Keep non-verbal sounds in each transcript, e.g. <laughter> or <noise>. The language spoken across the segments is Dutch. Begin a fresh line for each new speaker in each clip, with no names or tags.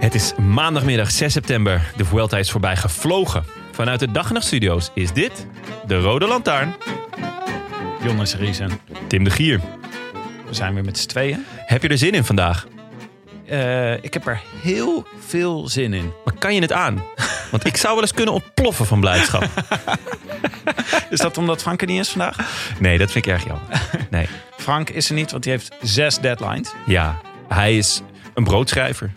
Het is maandagmiddag 6 september. De Vuelta is voorbij gevlogen. Vanuit de Dag en Nacht Studio's is dit de Rode Lantaarn.
Jonas Riesen,
Tim de Gier,
we zijn weer met z'n tweeën.
heb je er zin in vandaag?
Eh, ik heb er heel veel zin in.
Maar kan je het aan? Want ik zou wel eens kunnen ontploffen van blijdschap.
Is dat omdat Frank er niet is vandaag?
Nee, dat vind ik erg jammer. Nee.
Frank is er niet, want die heeft zes deadlines.
Ja, hij is een broodschrijver.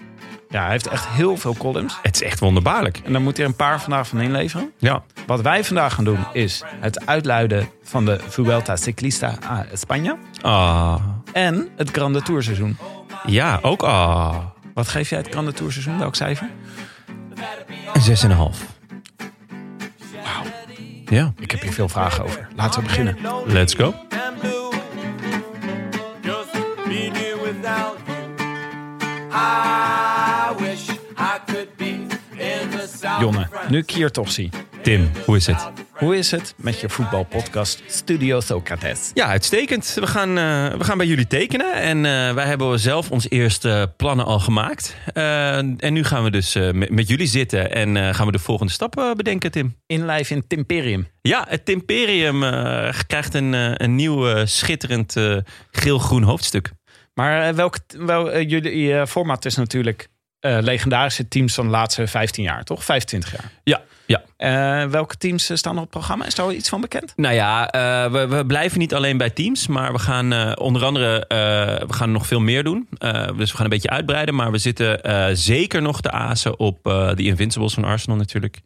Ja, hij heeft echt heel veel columns.
Het is echt wonderbaarlijk.
En dan moet hij een paar vandaag van inleveren.
Ja.
Wat wij vandaag gaan doen is het uitluiden van de Vuelta Ciclista a España.
Ah.
En het Grande Tour seizoen.
Ja, ook ah.
Wat geef jij het Grande Tour seizoen? Welk cijfer?
Een zes en een half. Ja,
Ik heb hier veel vragen over. Laten we beginnen.
let's go.
and blue. Just be here without you. I wish I could be in the south.
Jonne,
of France.
nu ik hier toch zie.
Tim, hoe is het?
Hoe is het met je voetbalpodcast Studio Socrates?
Ja, uitstekend. We gaan, eh, we gaan bij jullie tekenen. En eh, wij hebben zelf ons eerste plannen al gemaakt. Eh, en nu gaan we dus eh, met, met jullie zitten en eh, gaan we de volgende stappen bedenken, Tim.
Inlijf in Timperium.
Ja, het Timperium eh, krijgt een, eh, een nieuw eh, schitterend eh, geel-groen hoofdstuk.
Maar eh, welk, wel, eh, jullie eh, format is natuurlijk eh, legendarische teams van de laatste 15 jaar, toch? 25 jaar.
Ja, ja.
Eh, welke teams eh, staan er op het programma? Is daar al iets van bekend?
Nou ja, eh, we, we blijven niet alleen bij teams, maar we gaan eh, onder andere eh, we gaan nog veel meer doen. Eh, dus we gaan een beetje uitbreiden, maar we zitten eh, zeker nog te azen op eh de Invincibles van Arsenal natuurlijk.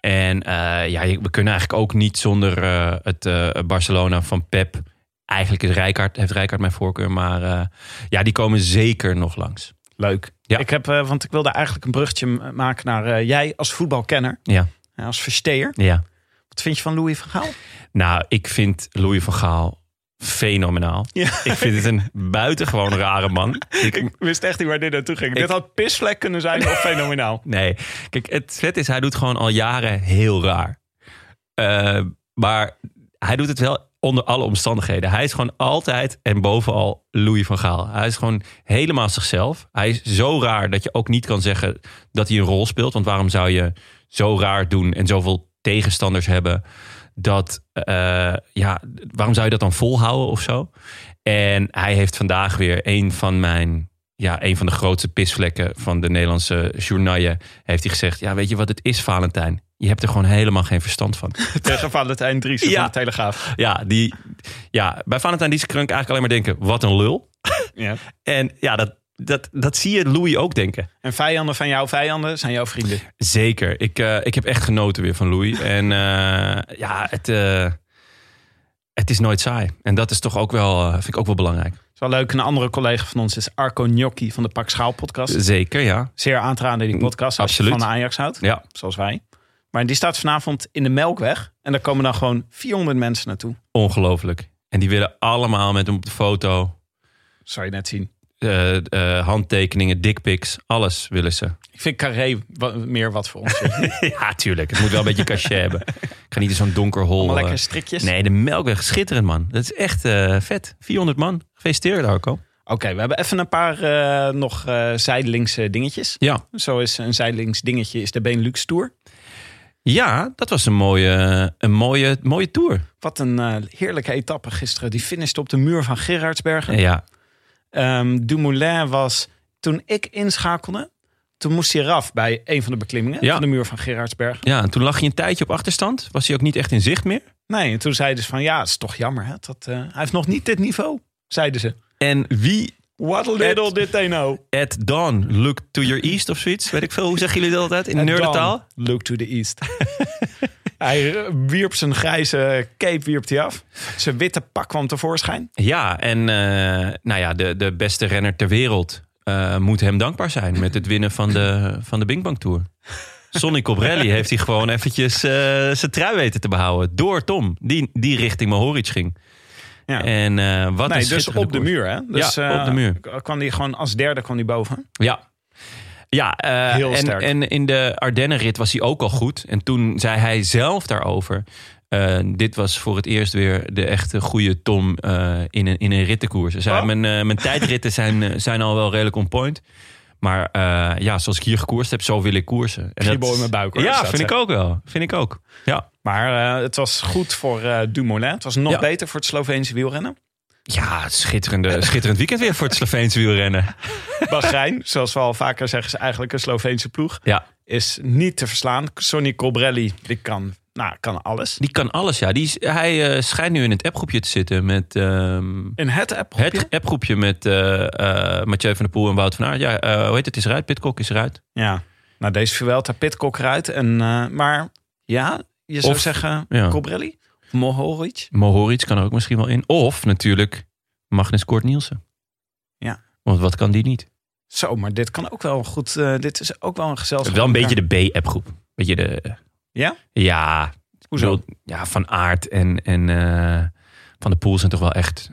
En eh, ja, je- we kunnen eigenlijk ook niet zonder eh, het eh, Barcelona van Pep. Eigenlijk is Rijkaard, heeft Rijkaard mijn voorkeur, maar eh, ja, die komen zeker nog langs.
Leuk.
Ja.
Ik heb, eh, want ik wilde eigenlijk een bruggetje m- maken naar eh, jij als voetbalkenner,
Ja,
eh, als versteer.
ja.
Wat vind je van Louis van Gaal?
Nou, ik vind Louis van Gaal fenomenaal.
Ja.
Ik vind het een buitengewoon rare <laughs> man. Ik,
wist echt niet waar dit naartoe ging.
Dit
had pisvlek kunnen zijn <laughs> of fenomenaal.
Nee. Kijk, het vet is, hij doet gewoon al jaren heel raar. Eh, maar hij doet het wel onder alle omstandigheden. Hij is gewoon altijd en bovenal Louis van Gaal. Hij is gewoon helemaal zichzelf. Hij is zo raar dat je ook niet kan zeggen dat hij een rol speelt. Want waarom zou je zo raar doen en zoveel tegenstanders hebben? Dat, eh, ja, waarom zou je dat dan volhouden of zo? En hij heeft vandaag weer een van mijn ja, een van de grootste pisvlekken van de Nederlandse journaille heeft hij gezegd: Ja, weet je wat het is, Valentijn? Je hebt er gewoon helemaal geen verstand <laughs> van.
Tegen Valentijn Driessen
Ja.
van de Telegraaf.
Ja, die, ja bij Valentijn Dieskrunk eigenlijk alleen maar denken: Wat een lul.
Ja.
En ja, dat, dat, dat zie je Louis ook denken.
En vijanden van jouw vijanden zijn jouw vrienden.
Zeker. Ik, eh, ik heb echt genoten weer van Louis. En eh, ja, het, eh, het is nooit saai. En dat is toch ook wel, eh, vind ik ook wel belangrijk.
Het is wel leuk. Een andere collega van ons is Arco Gnocchi van de Pak Schaal podcast.
Zeker, ja.
Zeer aan te raden die podcast als je
Absoluut.
van de Ajax houdt,
Ja,
zoals wij. Maar die staat vanavond in de Melkweg. En daar komen dan gewoon 400 mensen naartoe.
ongelooflijk. En die willen allemaal met hem op de foto.
Zou je net zien.
eh, eh, handtekeningen, dickpics, alles willen ze.
Ik vind Carré wa- meer wat voor ons. Allemaal
<laughs> ja, tuurlijk. Het moet wel een beetje cachet hebben. <laughs> Ik ga niet in zo'n donker hol. eh,
lekker strikjes.
nee, de Melkweg, schitterend man. Dat is echt eh, vet. 400 man. Gefeliciteerd, Arco.
Oké, we hebben even een paar eh, nog eh zijdelings eh, dingetjes.
Ja.
Zo is een zijdelings dingetje is de Benelux Tour.
ja, dat was een mooie, een mooie, mooie tour.
Wat een eh, heerlijke etappe gisteren. Die finishte op de muur van Gerardsbergen.
Ja,
Ehm Dumoulin was, toen ik inschakelde, Toen moest hij eraf bij een van de beklimmingen
Ja.
van de muur van Gerardsberg.
Ja, en toen lag je een tijdje op achterstand. Was hij ook niet echt in zicht meer.
Nee, en toen zeiden ze van ja, het is toch jammer. Hè, dat, eh, hij heeft nog niet dit niveau, zeiden ze.
En wie
What little did they know.
at dawn look to your east of zoiets? Weet ik veel, hoe zeggen jullie dat altijd in
En
nerdentaal?
dan Look to the east. hij wierp zijn grijze cape wierp hij af. Zijn witte pak kwam tevoorschijn.
Ja, en eh, nou ja, de, de beste renner ter wereld eh, moet hem dankbaar zijn met het winnen van de, van de Bing Bang Tour. Sonny Cobrelli heeft hij gewoon eventjes eh, zijn trui weten te behouden. Door Tom, die, die richting Mohoric ging.
Ja.
En eh, wat
nee,
een
dus
schitterende
op de
koers.
muur, hè? Dus,
Ja, op
eh,
de muur.
k- Kwam die gewoon als derde kwam die boven.
Ja. Ja, eh,
Heel
en,
sterk.
en in de Ardennenrit was hij ook al goed. En toen zei hij zelf daarover... eh, dit was voor het eerst weer de echte goede Tom eh, in, een, in een rittenkoers. Hij zei,
Oh.
mijn, eh, mijn tijdritten zijn, eh, zijn al wel redelijk on point. Maar eh, ja, zoals ik hier gekoerst heb, zo wil ik koersen. En
Kriebel in mijn buik, hoor, is
Ja,
dat,
vind ik
hè?
ook wel. Vind ik ook. Ja,
Maar eh, het was goed voor eh, Dumoulin. Het was nog
Ja.
beter voor het Sloveense wielrennen.
ja schitterende, schitterend weekend weer voor het Sloveense wielrennen.
Bahrein, <laughs> zoals we al vaker zeggen, is eigenlijk een Sloveense ploeg.
Ja,
Is niet te verslaan. Sonny Colbrelli, die kan, nou, kan alles.
die kan alles. Ja. Die, is- hij eh, schijnt nu in het appgroepje te zitten met... ehm,
In het app
Het appgroepje met eh, eh, Mathieu van der Poel en Wout van Aert. Ja, eh, hoe heet het? Is eruit. Pitcock is eruit.
Ja, nou deze Vuelta Pitcock eruit. En, eh, maar ja, je zou
Of-
zeggen
ja.
Colbrelli, Mohoric.
Mohoric kan er ook misschien wel in. Of natuurlijk Magnus Kort Nielsen.
Ja.
Want wat kan die niet?
Zo, maar dit kan ook wel goed. eh, dit is ook wel een gezelschap.
Wel een beetje de B-appgroep. Beetje de...
Ja?
Ja. ik
Hoezo?
bedoel, Ja, Van Aert en, en eh, Van der Poel zijn toch wel echt...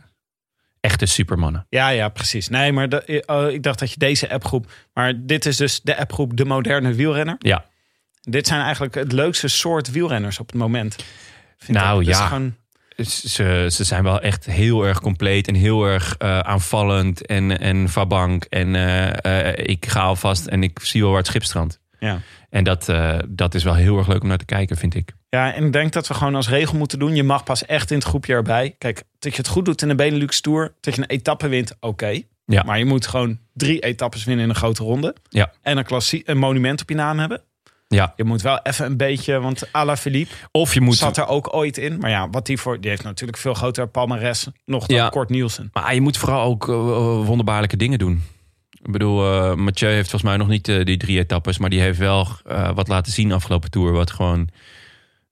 Echte supermannen.
Ja, ja, precies. Nee, maar de- eh, ik dacht dat je deze appgroep. Maar dit is dus de appgroep De Moderne Wielrenner.
Ja.
Dit zijn eigenlijk het leukste soort wielrenners op het moment. vind
Nou,
ik. Dus
ja.
gewoon-
Ze, ze zijn wel echt heel erg compleet en heel erg eh, aanvallend en, en vabank. En eh, eh, ik ga alvast en ik zie wel waar het schip strandt.
ja.
En dat, eh, dat is wel heel erg leuk om naar te kijken, vind ik.
ja, en ik denk dat we gewoon als regel moeten doen. Je mag pas echt in het groepje erbij. Kijk, dat je het goed doet in de Benelux Tour. Dat je een etappe wint, oké.
Ja.
Maar je moet gewoon drie etappes winnen in een grote ronde.
Ja.
En een, klassie- een monument op je naam hebben.
Ja.
Je moet wel even een beetje, want Ala Philippe
Of je moet...
zat er ook ooit in. Maar ja, wat die voor. Die heeft natuurlijk veel groter palmares nog dan
Ja.
Kort Nielsen.
Maar je moet vooral ook eh, eh, wonderbaarlijke dingen doen. Ik bedoel, eh, Mathieu heeft volgens mij nog niet eh, die drie etappes. Maar die heeft wel eh, wat laten zien afgelopen tour. Wat gewoon,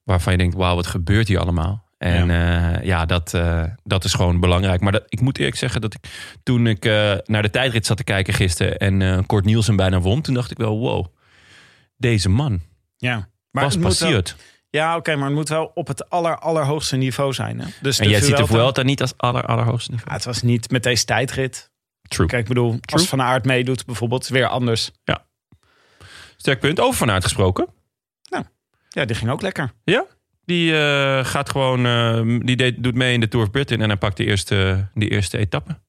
waarvan je denkt, wauw, wat gebeurt hier allemaal? En ja, ja dat, eh, dat is gewoon belangrijk. Maar dat, ik moet eerlijk zeggen dat ik toen ik eh, naar de tijdrit zat te kijken gisteren... en eh Kort Nielsen bijna won, toen dacht ik wel, wow, deze man
Ja.
was
het moet wel-
passiert.
ja, oké, maar het moet wel op het aller, allerhoogste niveau zijn. Hè? Dus
En jij ziet de Vuelta niet als aller, allerhoogste niveau.
Ja, Ah, het was niet met deze tijdrit.
True.
Kijk, ik bedoel, als Van Aert meedoet bijvoorbeeld, is weer anders.
Sterk punt. Over vanuit gesproken.
Ja, die ging ook lekker.
Die eh, gaat gewoon, eh, die deed- doet mee in de Tour of Britain en hij pakt de eerste, die eerste etappe.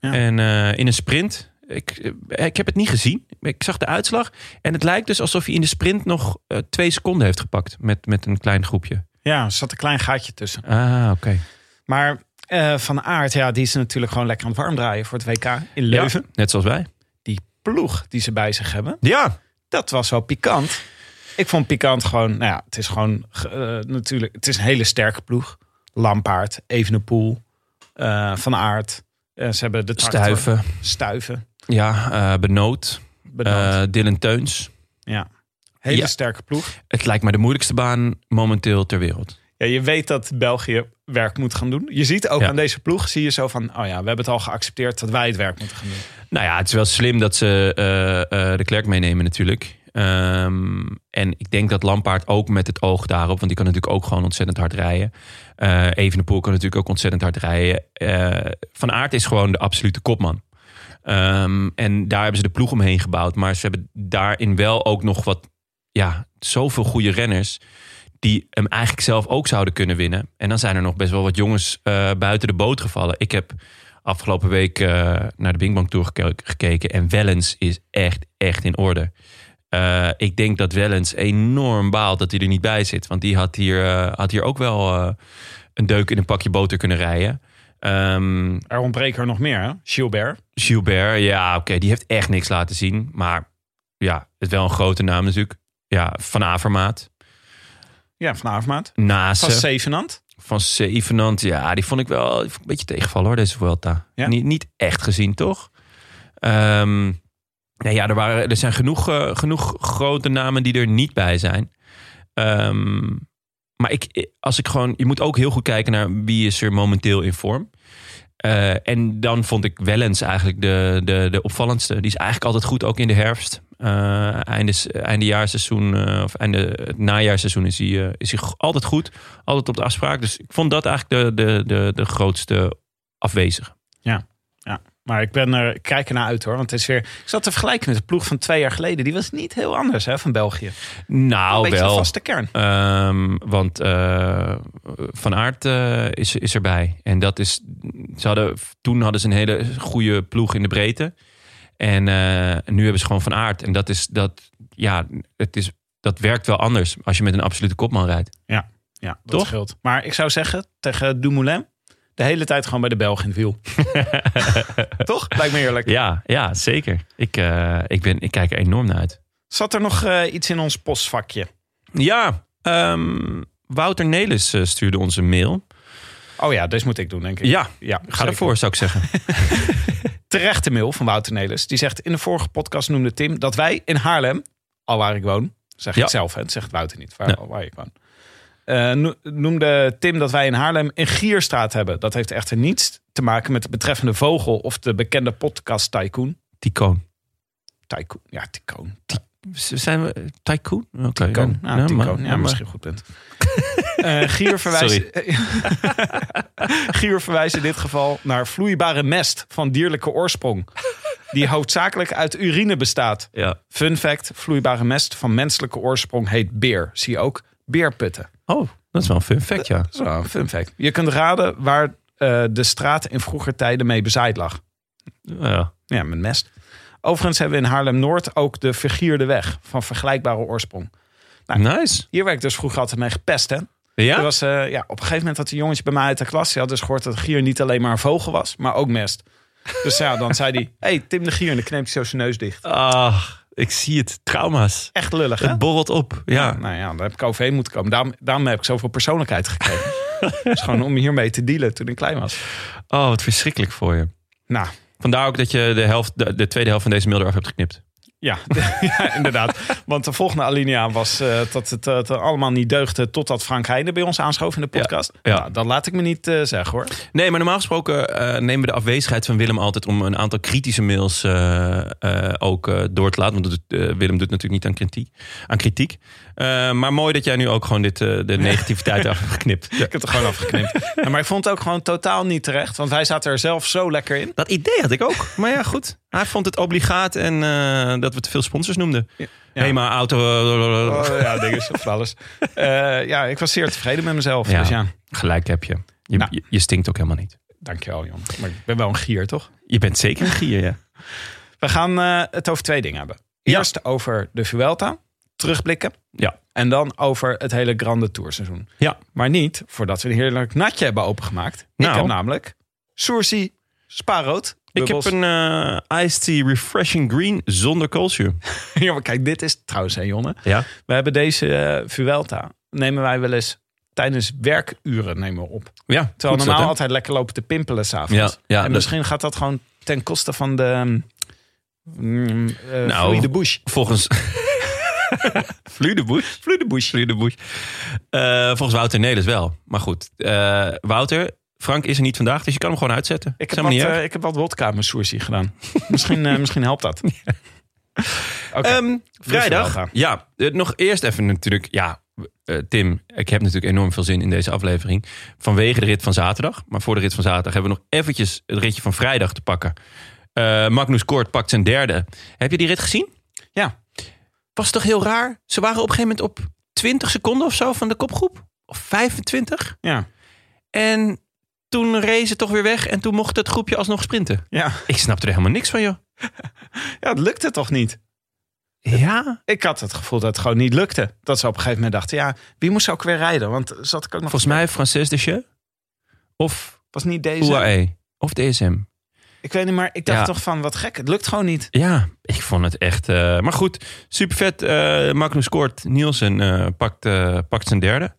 Ja.
En eh, in een sprint, ik, eh, ik heb het niet gezien, ik zag de uitslag. En het lijkt dus alsof hij in de sprint nog eh, twee seconden heeft gepakt met, met een klein groepje.
Ja, er zat een klein gaatje tussen.
Ah, oké.
Maar eh, Van Aert, ja, die is natuurlijk gewoon lekker aan het warm draaien voor het WK in Leuven.
Ja, net zoals wij.
Die ploeg die ze bij zich hebben,
Ja.
dat was wel pikant. Ik vond pikant gewoon, nou ja, het is gewoon eh, natuurlijk, het is een hele sterke ploeg. Lampaard, Evenepoel, eh, Van Aert. Eh, ze hebben de tractor,
Stuiven.
Stuiven,
Ja, eh, Benoot.
bedankt.
Eh, Dylan Teuns.
ja. Hele
ja.
sterke ploeg.
Het lijkt mij de moeilijkste baan momenteel ter wereld.
Ja, je weet dat België werk moet gaan doen. Je ziet ook
Ja.
aan deze ploeg, zie je zo van, oh ja, we hebben het al geaccepteerd dat wij het werk moeten gaan doen.
Nou ja, het is wel slim dat ze eh, eh, de klerk meenemen natuurlijk. Ehm, en ik denk dat Lampaard ook met het oog daarop... want die kan natuurlijk ook gewoon ontzettend hard rijden. Eh Evenepoel kan natuurlijk ook ontzettend hard rijden. Eh, Van Aert is gewoon de absolute kopman. Ehm, en daar hebben ze de ploeg omheen gebouwd. Maar ze hebben daarin wel ook nog wat... ja, zoveel goede renners... die hem eigenlijk zelf ook zouden kunnen winnen. En dan zijn er nog best wel wat jongens eh, buiten de boot gevallen. Ik heb afgelopen week eh, naar de Bing Bang Tour geke- gekeken. En Wellens is echt, echt in orde. Eh, ik denk dat Wellens enorm baalt dat hij er niet bij zit. Want die had hier, eh, had hier ook wel eh, een deuk in een pakje boter kunnen rijden. Ehm,
Er ontbreken er nog meer, hè? Gilbert.
Gilbert, ja, oké, die heeft echt niks laten zien. Maar ja, het is wel een grote naam natuurlijk. Ja, Van Avermaat,
Ja, van Avermaat. Van
Nase,
Zevenand.
Van Zevenand. Ja, die vond ik wel die vond ik een beetje tegenvallen hoor, deze Vuelta.
Ja?
Niet, niet echt gezien, toch? Ehm nee, ja, er, waren, er zijn genoeg, eh, genoeg grote namen die er niet bij zijn. Ehm, maar ik, eh, als ik gewoon, je moet ook heel goed kijken naar wie is er momenteel in vorm. Eh, en dan vond ik Wellens eigenlijk de, de, de opvallendste. Die is eigenlijk altijd goed, ook in de herfst. Eh einde, eindejaarseizoen, eh, of einde, het najaarseizoen is hij, eh, is hij g- altijd goed. Altijd op de afspraak. Dus ik vond dat eigenlijk de, de, de, de grootste afwezige.
Maar ik ben er, ik kijk ernaar uit hoor. Want het is weer. Ik zat te vergelijken met de ploeg van twee jaar geleden. Die was niet heel anders hè, van België. een
Nou,
beetje een
wel.
vaste kern.
Ehm, want eh, Van Aert eh, is, is erbij. En dat is. Ze hadden, toen hadden ze een hele goede ploeg in de breedte. En eh, nu hebben ze gewoon Van Aert. En dat is dat. Ja, het is, dat werkt wel anders als je met een absolute kopman rijdt.
Ja, dat
Toch?
scheelt. Maar ik zou zeggen tegen Dumoulin. De hele tijd gewoon bij de Belg in het
<laughs>
wiel. Toch? Lijkt me eerlijk.
Ja, ja zeker. Ik, eh, ik, ben, ik kijk er enorm naar uit.
Zat er nog eh, iets in ons postvakje?
Ja, ehm, Wouter Nelis eh, stuurde ons een mail.
Oh ja, deze moet ik doen, denk ik.
Ja,
ja
ga
zeker.
ervoor zou ik zeggen.
Terechte mail van Wouter Nelis. Die zegt, in de vorige podcast noemde Tim dat wij in Haarlem, al waar ik woon, zeg
Ja.
ik zelf, hè, dat zegt Wouter niet, waar,
Nee.
al waar ik woon. Eh, no- noemde Tim dat wij in Haarlem een gierstraat hebben. Dat heeft echter niets te maken met de betreffende vogel of de bekende podcast Tycoon.
Ticoon.
Tycoon, ja, Tycoon.
Zijn we eh, tycoon? Oké.
Tycoon, ja,
nou,
Tycoon.
maar-
ja,
maar-
misschien een goed punt. Eh, gier, verwijst, <laughs> gier verwijst in dit geval naar vloeibare mest van dierlijke oorsprong. Die hoofdzakelijk uit urine bestaat.
Ja.
Fun fact: vloeibare mest van menselijke oorsprong heet beer. Zie ook beerputten.
Oh, dat is wel een fun fact, ja.
Dat is wel een fun fact. Je kunt raden waar eh, de straat in vroeger tijden mee bezaaid lag.
Ja.
Ja, met mest. Overigens hebben we in Haarlem-Noord ook de Vergierde Weg van vergelijkbare oorsprong.
Nice.
Hier werd ik dus vroeger altijd mee gepest, hè?
Ja?
Er Nou, was, eh, ja, op een gegeven moment had een jongetje bij mij uit de klas. Die had dus gehoord dat Gier niet alleen maar een vogel was, maar ook mest. Dus ja, dan zei hij: hey, Tim de Gier. En dan kneept hij zo zijn neus dicht.
Ach, Ah, ik zie het. Trauma's.
Echt lullig, hè?
Het borrelt op. Ja.
Nou ja, daar heb ik overheen moeten komen. Daarom, daarom heb ik zoveel persoonlijkheid gekregen. dus gewoon om hiermee te dealen toen ik klein was.
Oh, wat verschrikkelijk voor je.
Nou,
Vandaar ook dat je de, helft, de, de tweede helft van deze mail eraf hebt geknipt.
ja, <laughs> ja inderdaad. Want de volgende alinea was eh, dat het eh, dat er allemaal niet deugde... totdat Frank Heijden bij ons aanschoof in de podcast.
Ja, ja.
Nou, dat laat ik me niet eh, zeggen, hoor.
Nee, maar normaal gesproken eh, nemen we de afwezigheid van Willem altijd om een aantal kritische mails eh, eh, ook eh, door te laten. Want dat doet, eh, Willem doet natuurlijk niet aan kritiek. Aan kritiek. Eh, maar mooi dat jij nu ook gewoon dit, eh, de negativiteit eraf hebt
<laughs>
geknipt. Ja.
Ik heb het er gewoon afgeknipt.
<laughs>
Ja, maar ik vond het ook gewoon totaal niet terecht. Want hij zaten er zelf zo lekker in.
Dat idee had ik ook. Maar ja, goed. Hij vond het obligaat en eh, dat we te veel sponsors noemden. Hema, auto.
Oh, ja, dingen is van alles. Eh, ja, ik was zeer tevreden met mezelf.
Ja.
Dus ja,
Gelijk heb je. Je,
Nou.
je. je stinkt ook helemaal niet.
dankjewel, Jan. Maar ik ben wel een gier, toch?
Je bent zeker een gier, ja.
We gaan eh, het over twee dingen hebben.
Ja.
Eerst over de Vuelta, terugblikken.
Ja.
En dan over het hele Grande Tourseizoen.
Ja.
Maar niet voordat we een heerlijk natje hebben opengemaakt.
Nou.
Ik heb namelijk Sourcy Spaarrood.
Ik heb
bubbels.
een eh iced tea refreshing green zonder
<laughs>
koolzuur.
Ja, maar kijk, dit is trouwens, hè Jonne.
Ja.
We hebben deze eh, Vuelta, nemen wij wel eens tijdens werkuren nemen we op.
Ja,
Terwijl
goed
normaal
zo, hè?
altijd lekker lopen te pimpelen s'avonds.
Ja, ja, dus-
en
dat-
misschien gaat dat gewoon ten koste van de... Mm, eh,
Nou,
Louis de Bush. <laughs>
Volgens... Vloeideboes. Vloeideboes. Vloeideboes. Eh volgens Wouter Nelis wel. Maar goed. eh, Wouter, Frank is er niet vandaag, dus je kan hem gewoon uitzetten.
Ik
Is
heb,
helemaal
wat,
niet erg.
eh, ik heb wat wodka in mijn sourcie gedaan. <laughs>
<laughs>
misschien, eh, misschien helpt dat. Oké.
Ehm, vrijdag.
Vuelta.
Ja, eh, nog eerst even natuurlijk. Ja, eh, Tim, ik heb natuurlijk enorm veel zin in deze aflevering. Vanwege de rit van zaterdag. Maar voor de rit van zaterdag hebben we nog eventjes het ritje van vrijdag te pakken. Eh, Magnus Kort pakt zijn derde. Heb je die rit gezien?
Ja.
Was toch heel raar? Ze waren op een gegeven moment op 20 seconden of zo van de kopgroep. Of 25.
ja,
En toen rezen ze toch weer weg. En toen mocht het groepje alsnog sprinten.
ja.
Ik snapte er helemaal niks van, joh.
ja, het lukte toch niet?
Ja,
Ik had het gevoel dat het gewoon niet lukte. Dat ze op een gegeven moment dachten, ja, wie moest ook weer rijden? Want zat ik ook nog...
volgens mij Frances Deschamps. Of
E
E.
was niet deze.
UAE of DSM.
Ik weet niet, maar ik dacht
eh, Ja.
toch van wat gek. Het lukt gewoon niet.
Ja, ik vond het echt. eh, maar goed, super vet. eh, Magnus Kort, Nielsen eh, pakt, eh, pakt zijn derde.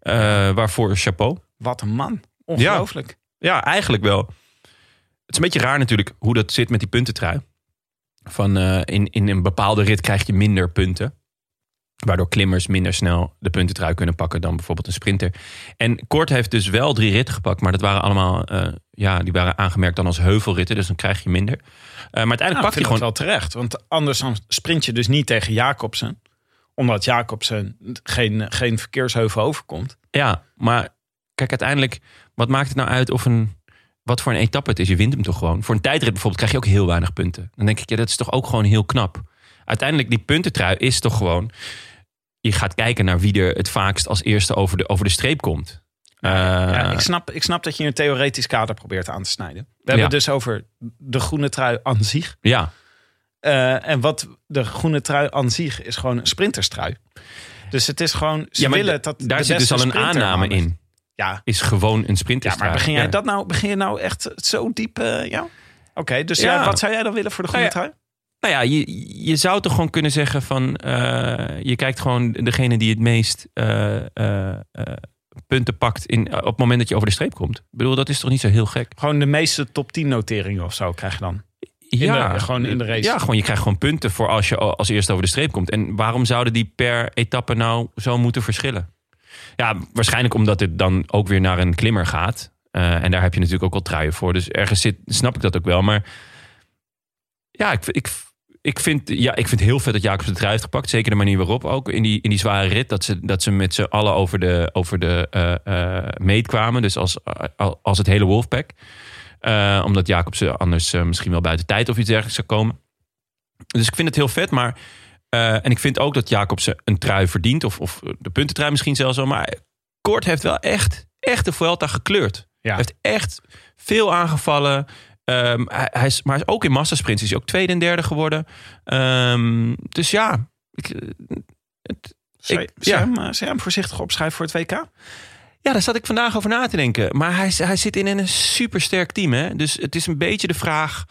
Eh, waarvoor chapeau.
Wat een man. Ongelooflijk.
Ja, eigenlijk wel. Het is een beetje raar natuurlijk hoe dat zit met die puntentrui. Van eh, in, in een bepaalde rit krijg je minder punten. Waardoor klimmers minder snel de puntentrui kunnen pakken dan bijvoorbeeld een sprinter. En Kort heeft dus wel drie ritten gepakt. Maar dat waren allemaal, eh, ja, die waren aangemerkt dan als heuvelritten. Dus dan krijg je minder. Eh, maar uiteindelijk
Nou,
pak
ik
je
vind het
gewoon...
wel terecht. Want anders dan sprint je dus niet tegen Jacobsen. Omdat Jacobsen geen, geen verkeersheuvel overkomt.
Ja, maar kijk, uiteindelijk, wat maakt het nou uit of een. Wat voor een etappe het is, je wint hem toch gewoon. Voor een tijdrit bijvoorbeeld krijg je ook heel weinig punten. Dan denk ik, ja, dat is toch ook gewoon heel knap. Uiteindelijk, die puntentrui is toch gewoon. Je gaat kijken naar wie er het vaakst als eerste over de, over de streep komt.
Ja,
Eh,
ik, snap, ik snap dat je een theoretisch kader probeert aan te snijden. We
Ja.
hebben het dus over de groene trui aan zich.
ja,
Eh, en wat de groene trui aan zich is gewoon een sprinterstrui. Dus het is gewoon, ze
ja maar
willen
d-
dat de
daar zit dus
beste
al een
sprinter
aanname
aan is.
in.
Ja,
Is gewoon een
ja
sprinterstrui.
maar begin jij
Ja.
dat nou, begin je nou echt zo diep, eh, ja? Oké, dus ja.
Ja.
wat zou jij dan willen voor de groene
Nou ja,
trui?
Nou ja, je, je zou toch gewoon kunnen zeggen van... eh, je kijkt gewoon degene die het meest eh, eh, eh, punten pakt in, op het moment dat je over de streep komt. Ik bedoel, dat is toch niet zo heel gek?
Gewoon de meeste top 10 noteringen of zo krijg je dan. de- gewoon in de race.
Ja, gewoon je krijgt gewoon punten voor als je al- als eerste over de streep komt. En waarom zouden die per etappe nou zo moeten verschillen? Ja, waarschijnlijk omdat het dan ook weer naar een klimmer gaat. Eh, en daar heb je natuurlijk ook al truien voor. Dus ergens zit, snap ik dat ook wel. Maar ja, ik, ik, ik, vind, ja, ik vind heel vet dat Jacobs de trui heeft gepakt. Zeker de manier waarop ook in die, in die zware rit. Dat ze, dat ze met z'n allen over de, over de eh, eh, meet kwamen. Dus als, als- als het hele Wolfpack. Eh, omdat Jacobsen anders eh, misschien wel buiten tijd of iets dergelijks zou komen. Dus ik vind het heel vet, maar... eh, en ik vind ook dat Jacobsen een trui verdient. Of, of eh, de puntentrui misschien zelfs wel. Maar Kort heeft wel echt, echt de Vuelta gekleurd.
Ja.
Hij heeft echt veel aangevallen. Ehm, hij, hij is, maar hij is ook in massasprints is hij ook tweede en derde geworden. Ehm, dus ja, ik, eh,
Zou je,
Ik-
zou je
ja.
hem, eh, zou je hem voorzichtig opschrijven voor het WK?
ja, daar zat ik vandaag over na te denken. Maar hij, hij zit in een supersterk team. Hè? Dus het is een beetje de vraag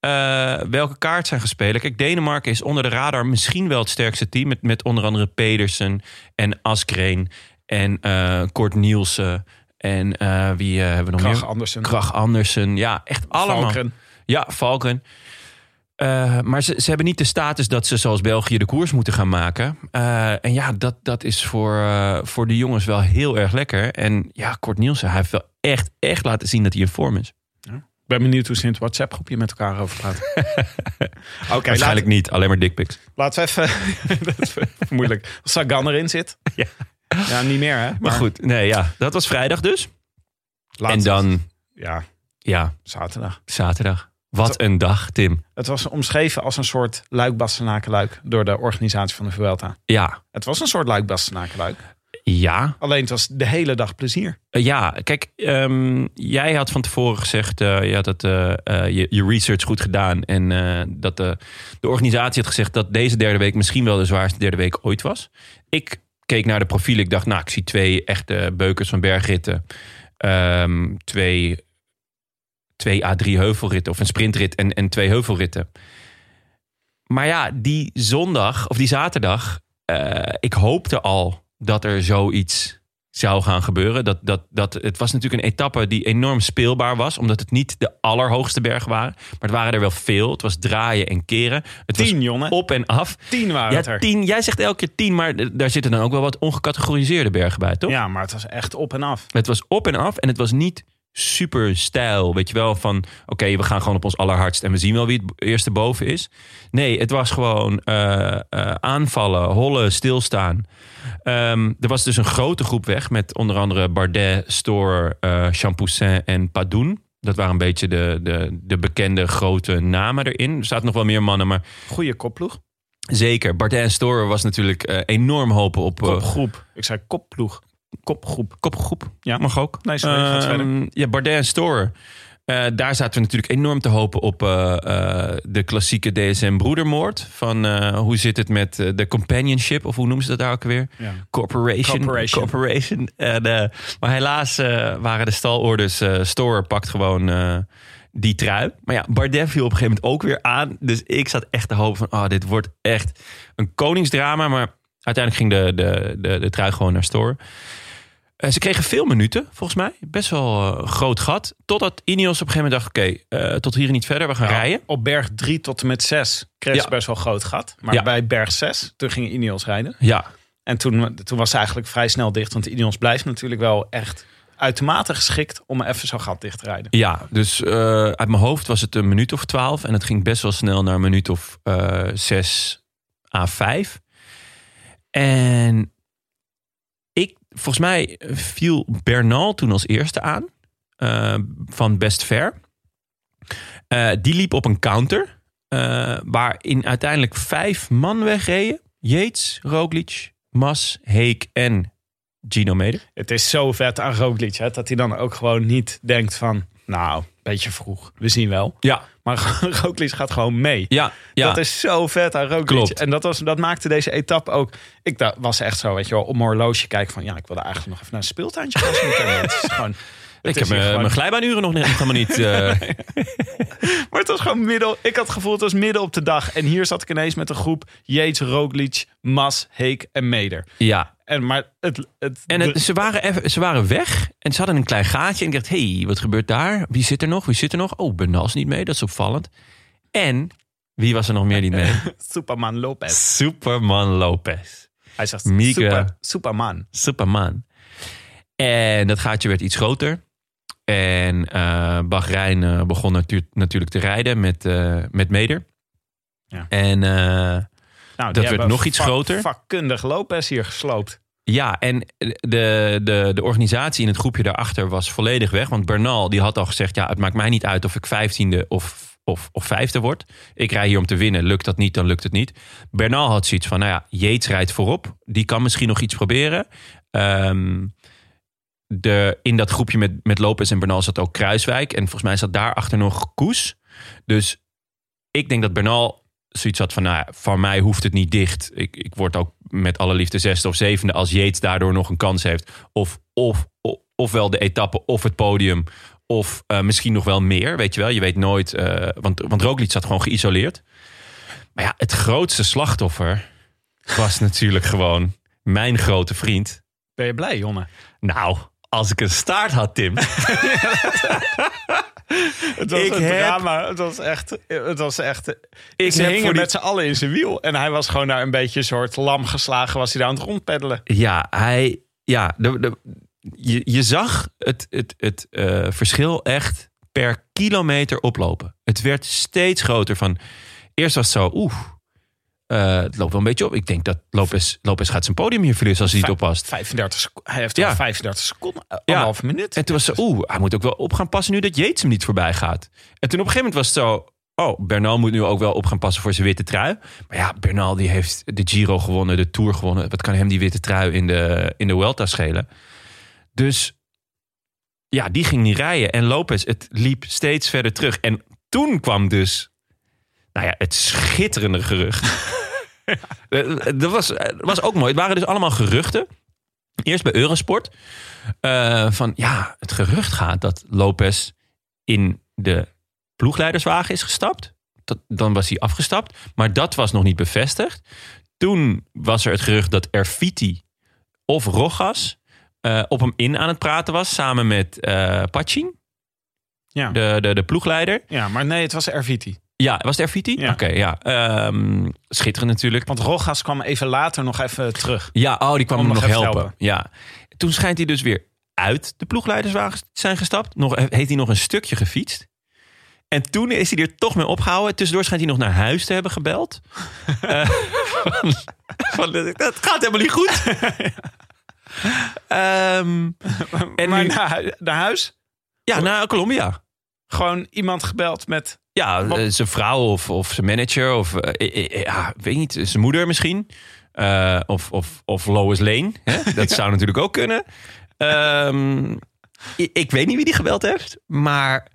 eh, welke kaart zijn gespeeld. Kijk, Denemarken is onder de radar misschien wel het sterkste team. Met, met onder andere Pedersen en Askreen en eh Kort Nielsen. En eh, wie eh, hebben we nog
Krach
meer?
Andersen.
Krach Andersen. Ja, echt allemaal.
Valken.
Ja, Valken. Eh, maar ze, ze hebben niet de status dat ze zoals België de koers moeten gaan maken. Eh, en ja, dat, dat is voor, eh, voor de jongens wel heel erg lekker. En ja, Kort Nielsen, hij heeft wel echt, echt laten zien dat hij in vorm is.
Ik ben benieuwd hoe ze in het WhatsApp-groepje met elkaar over praten. <laughs> Oké,
Waarschijnlijk niet, alleen maar dickpics.
laten we even... <laughs> dat is moeilijk. Als Sagan erin zit.
Ja.
Ja, niet meer hè.
Maar goed, nee, ja, dat was vrijdag dus.
Laatst-
En dan,
Ja,
ja,
zaterdag.
zaterdag. Wat een dag, Tim.
Het was omschreven als een soort luik-bastenakenluik door de organisatie van de Vuelta.
Ja,
Het was een soort luik-bastenakenluik.
ja.
Alleen het was de hele dag plezier.
Eh, ja, kijk, ehm, jij had van tevoren gezegd eh, ja, dat eh, eh, je, je research goed gedaan. En eh, dat de, de organisatie had gezegd dat deze derde week misschien wel de zwaarste derde week ooit was. Ik keek naar de profielen. Ik dacht, nou, ik zie twee echte beukers van bergritten. Ehm, twee, twee A3 heuvelritten of een sprintrit en, en twee heuvelritten. Maar ja, die zondag of die zaterdag, eh, ik hoopte al dat er zoiets zou gaan gebeuren. Dat, dat, dat, het was natuurlijk een etappe die enorm speelbaar was, omdat het niet de allerhoogste bergen waren. Maar het waren er wel veel. Het was draaien en keren. Het
Tien,
was
jongen.
op en af.
Tien waren het
Ja,
er.
tien. Jij zegt elke keer tien, maar d- daar zitten dan ook wel wat ongecategoriseerde bergen bij, toch?
Ja, maar het was echt op en af.
Het was op en af en het was niet super stijl. Weet je wel, van oké, we gaan gewoon op ons allerhardst en we zien wel wie het b- eerste boven is. Nee, het was gewoon eh, eh, aanvallen, hollen, stilstaan. Ehm, er was dus een grote groep weg met onder andere Bardet, Stoor, eh Champoussin en Padoen. Dat waren een beetje de, de, de bekende grote namen erin. Er zaten nog wel meer mannen, maar
Goeie kopploeg.
zeker. Bardet en Stoor was natuurlijk eh, enorm hopen op... eh,
Kopgroep. Ik zei kopploeg. Kopgroep.
kopgroep.
Ja.
mag ook.
Nee, sorry, gaat
Ehm,
verder.
Ja, Bardet en Storer. Eh, daar zaten we natuurlijk enorm te hopen op eh, eh, de klassieke DSM-broedermoord. Van eh, hoe zit het met eh, de companionship, of hoe noemen ze dat daar ook weer?
Ja.
Corporation.
Corporation.
Corporation. En, eh, maar helaas eh, waren de stalorders. eh Storer pakt gewoon eh, die trui. Maar ja, Bardet viel op een gegeven moment ook weer aan. Dus ik zat echt te hopen van, oh, dit wordt echt een koningsdrama. Maar uiteindelijk ging de, de, de, de trui gewoon naar store. Eh, ze kregen veel minuten, volgens mij. Best wel eh, een groot gat. Totdat Ineos op een gegeven moment dacht, oké, eh, tot hier en niet verder. We gaan rijden.
Nou, Op berg 3 tot en met 6 kreeg
Ja.
ze best wel groot gat. Maar
Ja.
bij berg 6, toen ging Ineos rijden.
Ja,
En toen, toen was ze eigenlijk vrij snel dicht. Want Ineos blijft natuurlijk wel echt uitermate geschikt om even zo'n gat dicht te rijden.
Ja, dus eh, uit mijn hoofd was het een minuut of twaalf. En het ging best wel snel naar een minuut of eh, zes à vijf. En ik, volgens mij eh, viel Bernal toen als eerste aan. eh, van Best Fair. Eh, die liep op een counter. eh, waarin uiteindelijk vijf man wegreden. Yates, Roglic, Mas, Heek en Gino Mede.
Het is zo vet aan Roglic, hè, dat hij dan ook gewoon niet denkt van... Nou, beetje vroeg. We zien wel.
Ja,
Maar <laughs> Roglic gaat gewoon mee.
ja, ja.
Dat is zo vet aan Roglic.
Klopt.
En dat, was, dat maakte deze etappe ook... Ik da- was echt zo, weet je wel, op mijn horloge kijken van... Ja, ik wilde eigenlijk nog even naar een speeltuintje gaan.
<laughs>
zo meteen. Het is gewoon...
Ik
het
heb
is
mijn,
hier gewoon-
mijn glijbaanuren nog niet- helemaal niet. eh, <laughs>
Maar het was gewoon middel. Ik had het gevoel, het was midden op de dag. En hier zat ik ineens met een groep Jeets, Roglic, Mas, Heek en Meder.
ja.
En, maar het, het,
En het- ze, waren even, ze waren weg en ze hadden een klein gaatje. En ik dacht, hey, wat gebeurt daar? Wie zit er nog? Wie zit er nog? Oh, Bernal is niet mee. Dat is opvallend. En wie was er nog meer niet mee?
de- Superman Lopez.
<laughs> Superman Lopez.
Hij zegt
Mieke.
super, Superman. Nou,
Superman. En dat gaatje werd iets groter. En eh Bahrein eh, begon natuur- natuurlijk te rijden met, eh, met Meder.
Ja.
En eh,
Nou,
Dat
die
werd
hebben
nog iets
vak-
groter.
vakkundig Lopez hier gesloopt.
Ja, en de, de, de organisatie in het groepje daarachter was volledig weg. Want Bernal die had al gezegd: ja, het maakt mij niet uit of ik vijftiende of, of, of vijfde word. Ik rij hier om te winnen. Lukt dat niet, dan lukt het niet. Bernal had zoiets van: nou ja, Yates rijdt voorop. Die kan misschien nog iets proberen. Ehm, de, in dat groepje met, met Lopez en Bernal zat ook Kruiswijk. En volgens mij zat daarachter nog Koes. Dus ik denk dat Bernal zoiets had van, nou ja, van mij hoeft het niet dicht. Ik, ik word ook met alle liefde zesde of zevende als Yates daardoor nog een kans heeft. Of, of, of ofwel de etappe of het podium. Of eh, misschien nog wel meer, weet je wel. Je weet nooit, eh, want, want Roglic zat gewoon geïsoleerd. Maar ja, het grootste slachtoffer was natuurlijk gewoon mijn grote vriend.
Ben je blij, Jonne?
Nou, als ik een staart had, Tim.
Het was
Ik
een
heb-
drama. Het was echt... Het was echt
Ik
ze
heb
hingen
voor die-
met z'n allen in zijn wiel. En hij was gewoon daar een beetje een soort lam geslagen. Was hij daar aan het rondpeddelen.
Ja, hij. Ja, de, de, je, je zag het, het, het eh, verschil echt per kilometer oplopen. Het werd steeds groter. Van, eerst was het zo, oeh, eh, het loopt wel een beetje op. Ik denk dat Lopez, Lopez gaat zijn podium hier verliezen als hij niet
Vij-
oppast.
35 seco- Hij heeft
Ja.
al 35 seconden. eh, Anderhalve minuut.
En toen was ze, oeh, hij moet ook wel op gaan passen nu dat Yates hem niet voorbij gaat. En toen op een gegeven moment was het zo, oh, Bernal moet nu ook wel op gaan passen voor zijn witte trui. Maar ja, Bernal die heeft de Giro gewonnen, de Tour gewonnen. Wat kan hem die witte trui in de, in de Vuelta schelen? Dus ja, die ging niet rijden. En Lopez, het liep steeds verder terug. En toen kwam dus, nou ja, het schitterende gerucht. Eh, Dat was, dat was ook mooi. Het waren dus allemaal geruchten. Eerst bij Eurosport. Eh, van ja, het gerucht gaat dat Lopez in de ploegleiderswagen is gestapt. Dat, dan was hij afgestapt, maar dat was nog niet bevestigd. Toen was er het gerucht dat Erfiti of Rogas eh, op hem in aan het praten was, samen met eh Pachin,
Ja.
de, de, de ploegleider.
ja, maar nee, het was Erviti.
Ja, was het Erfiti?
Ja.
Oké, ja. Ehm, schitterend natuurlijk.
Want Rogas kwam even later nog even terug.
Ja, oh, die kwam
Om
hem nog
nog even
helpen.
te
Ja. Toen schijnt hij dus weer uit de ploegleiderswagen te zijn gestapt. Nog, heeft hij nog een stukje gefietst. En toen is hij er toch mee opgehouden. Tussendoor schijnt hij nog naar huis te hebben
<laughs>
gebeld. Eh, van, van, dat gaat helemaal niet
<laughs>
goed. Ehm, en
maar
nu-
naar, hu- naar huis
ja, naar Colombia.
gewoon iemand gebeld met...
Ja,
Wat-
eh, zijn vrouw of, of zijn manager of eh, eh, eh, ja, ik weet niet, zijn moeder misschien. Eh, of, of, of Lois Lane.
<laughs>
Hè? Dat zou natuurlijk ook kunnen. Ehm, ik, ik weet niet wie die gebeld heeft, maar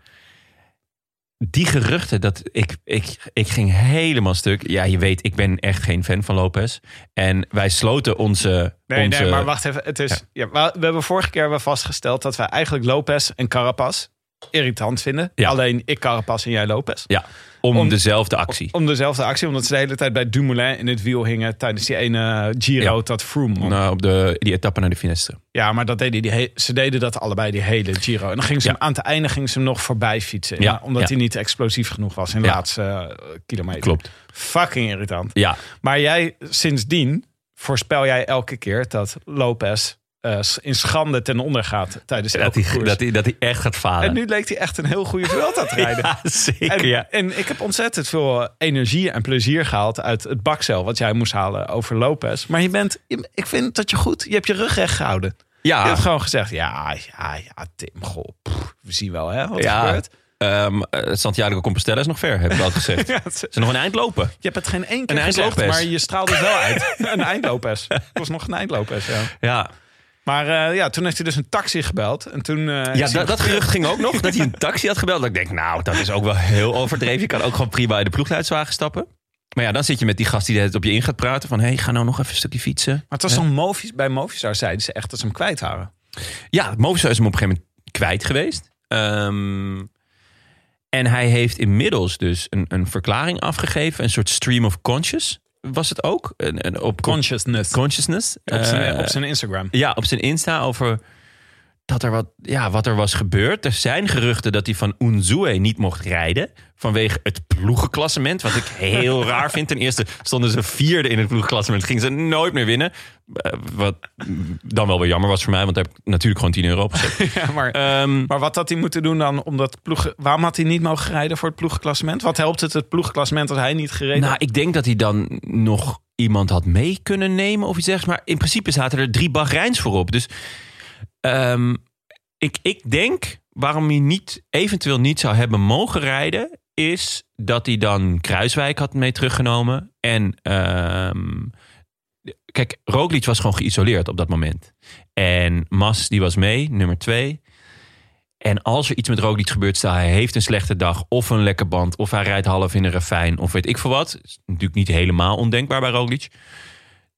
die geruchten, dat ik, ik, ik ging helemaal stuk. Ja, je weet, ik ben echt geen fan van Lopez. En wij sloten onze.
Nee,
onze
nee, maar wacht even. Het is, ja. we, we hebben vorige keer wel vastgesteld dat wij eigenlijk Lopez en Carapaz... irritant vinden.
Ja.
Alleen ik Carapaz en jij Lopez.
Ja, om,
Om-
dezelfde actie.
Om dezelfde actie, omdat ze de hele tijd bij Dumoulin in het wiel hingen tijdens die ene Giro
Ja.
dat Froome. won.
Nou, op de, die etappe naar de Finestre.
Ja, maar dat deden die he- ze deden dat allebei, die hele Giro. En dan ging ze
Ja.
hem, aan het einde ging ze hem nog voorbij fietsen.
Ja,
Maar Omdat
ja.
hij niet explosief genoeg was in de
Ja.
laatste eh, kilometer.
Klopt.
Fucking irritant.
Ja,
Maar jij, sindsdien voorspel jij elke keer dat Lopez eh, in schande ten onder gaat tijdens
dat
elke
hij,
koers.
dat, hij, dat hij echt gaat falen.
En nu leek hij echt een heel goede Vuelta te
<laughs>
rijden.
ja, zeker.
En,
ja.
en ik heb ontzettend veel eh, energie en plezier gehaald uit het bakcel wat jij moest halen over Lopez. Maar je bent, je- ik vind dat je goed, je hebt je rug recht gehouden.
Ja.
Je hebt gewoon gezegd, ja, ja, ja, Tim, goh, pff, we zien wel hè, wat er
Ja.
gebeurt.
Ehm, eh, Santiago de Compostela is nog ver, heb ik al
<laughs>
gezegd.
Ja, het-
Ze nog een eind lopen.
je hebt het geen één keer
Een
gezegd,
eindlopers.
maar je straalde het wel
<laughs>
uit. een eindlopers. Het was nog een eindlopers, ja.
Ja,
Maar eh, ja, toen heeft hij dus een taxi gebeld. En toen, eh, is
ja
hij-
dat, dat gerucht ging ook nog, dat hij een taxi had gebeld. Dat ik denk, nou, dat is ook wel heel overdreven. Je kan ook gewoon prima in de ploegleidswagen stappen. Maar ja, dan zit je met die gast die het op je in gaat praten. Van, hé, hey, ga nou nog even een stukje fietsen.
maar het was zo'n Movis, bij Movistar zeiden ze echt dat ze hem kwijt waren.
Ja, Movistar is hem op een gegeven moment kwijt geweest. Ehm, en hij heeft inmiddels dus een, een verklaring afgegeven. Een soort stream of conscious was het ook. Een, een, op,
Consciousness.
consciousness.
Op zijn,
Eh,
op zijn Instagram.
ja, op zijn Insta over dat er wat, ja, wat er was gebeurd. Er zijn geruchten dat hij van Unzue niet mocht rijden. Vanwege het ploegenklassement. Wat ik
<laughs>
heel raar vind. Ten eerste stonden ze vierde in het ploegenklassement. Gingen ze nooit meer winnen. Eh, Wat dan wel weer jammer was voor mij. Want daar heb ik natuurlijk gewoon 10 euro op gezet.
Ja, <laughs> maar,
Ehm,
maar wat had hij moeten doen dan? Omdat ploeg, waarom had hij niet mogen rijden voor het ploegklassement? Wat helpt het het ploegklassement als hij niet gereden
nou, ik denk dat hij dan nog iemand had mee kunnen nemen of iets dergelijks. Maar in principe zaten er drie Bahreins voorop. Dus ehm, ik, ik denk waarom hij niet, eventueel niet zou hebben mogen rijden... is dat hij dan Kruiswijk had mee teruggenomen. En ehm, kijk, Roglic was gewoon geïsoleerd op dat moment. En Mas, die was mee, nummer twee. En als er iets met Roglic gebeurt, stel hij heeft een slechte dag... of een lekke band, of hij rijdt half in een ravijn... of weet ik veel wat. Is natuurlijk niet helemaal ondenkbaar bij Roglic.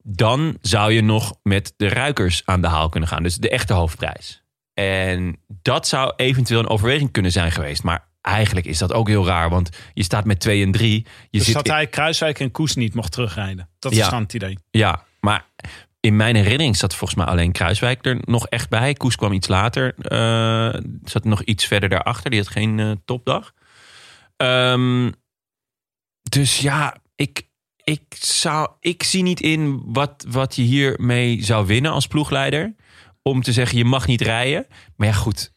Dan zou je nog met de ruikers aan de haal kunnen gaan. Dus de echte hoofdprijs. En dat zou eventueel een overweging kunnen zijn geweest. Maar eigenlijk is dat ook heel raar, want je staat met twee en drie. Je
Dus
zit
dat hij Kruiswijk en Koes niet mocht terugrijden. Dat is
Ja.
dan het idee.
Ja, maar in mijn herinnering zat volgens mij alleen Kruiswijk er nog echt bij. Koes kwam iets later, eh, zat nog iets verder daarachter. Die had geen eh, topdag. Ehm, dus ja, ik, ik, zou, ik zie niet in wat, wat je hiermee zou winnen als ploegleider. Om te zeggen, je mag niet rijden. Maar ja, goed,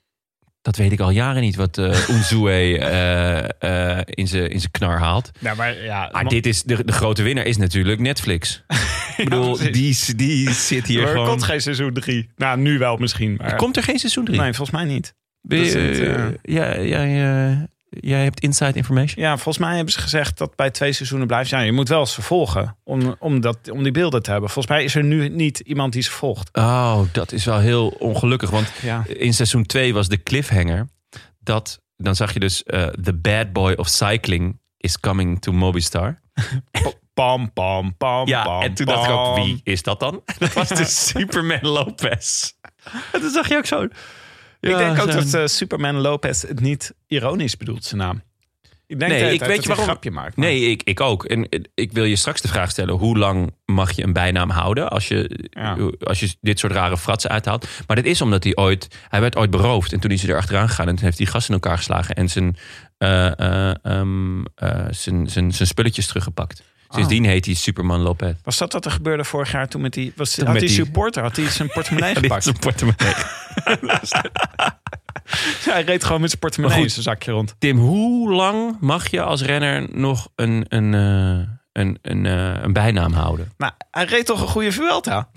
dat weet ik al jaren niet wat eh Unzue <laughs> eh, eh, in zijn in zijn knar haalt.
Ja, Nou, maar ja,
Maar Ah, dit is, de, de grote winnaar is natuurlijk Netflix. <laughs> Ik bedoel,
precies.
die, s- die zit hier
er
gewoon...
komt geen seizoen 3. Nou, nu wel misschien. Maar...
Komt er geen seizoen 3?
Nee, volgens mij niet. dat is het,
ja, jij, eh, jij hebt inside information?
Ja, volgens mij hebben ze gezegd dat bij twee seizoenen blijft. Ja, je moet wel eens vervolgen om, om, dat, om die beelden te hebben. Volgens mij is er nu niet iemand die ze volgt.
Oh, dat is wel heel ongelukkig. Want
Ja.
in seizoen 2 was de cliffhanger... dat dan zag je dus... eh, the bad boy of cycling is coming to Mobistar.
Pam, pam, pam,
Ja,
pam,
en toen dacht ik ook,
pam.
wie is dat dan? <laughs> Dat was dus Superman Lopez. En toen zag je ook zo...
ik denk ook
zo'n-
dat eh, Superman Lopez het niet ironisch bedoelt, zijn naam. Ik denk
Nee,
de hele
ik
tijd
weet
dat
je
hij
waarom-
een grapje maakt. maar-
Nee, ik, ik ook. En eh, ik wil je straks de vraag stellen: hoe lang mag je een bijnaam houden als je, eh,
Ja.
als je dit soort rare fratsen uithaalt? Maar dat is omdat hij ooit, hij werd ooit beroofd. En toen is hij er achteraan gegaan en toen heeft hij gas in elkaar geslagen en zijn, eh, eh, ehm, eh, zijn, zijn, zijn spulletjes teruggepakt. Sindsdien heet hij Superman Lopez.
Was dat wat er gebeurde vorig jaar toen met die... Was, had
met
die
die-
supporter, had hij zijn
<laughs>
portemonnee
Dit is
gepakt?
een portemonnee. <laughs>
Ja, hij reed gewoon met zijn portemonnee
Maar
in
goed.
zijn zakje rond.
Tim, hoe lang mag je als renner nog een, een, eh, een, een, eh, een bijnaam houden?
Nou, hij reed toch een
<laughs>
goede Vuelta?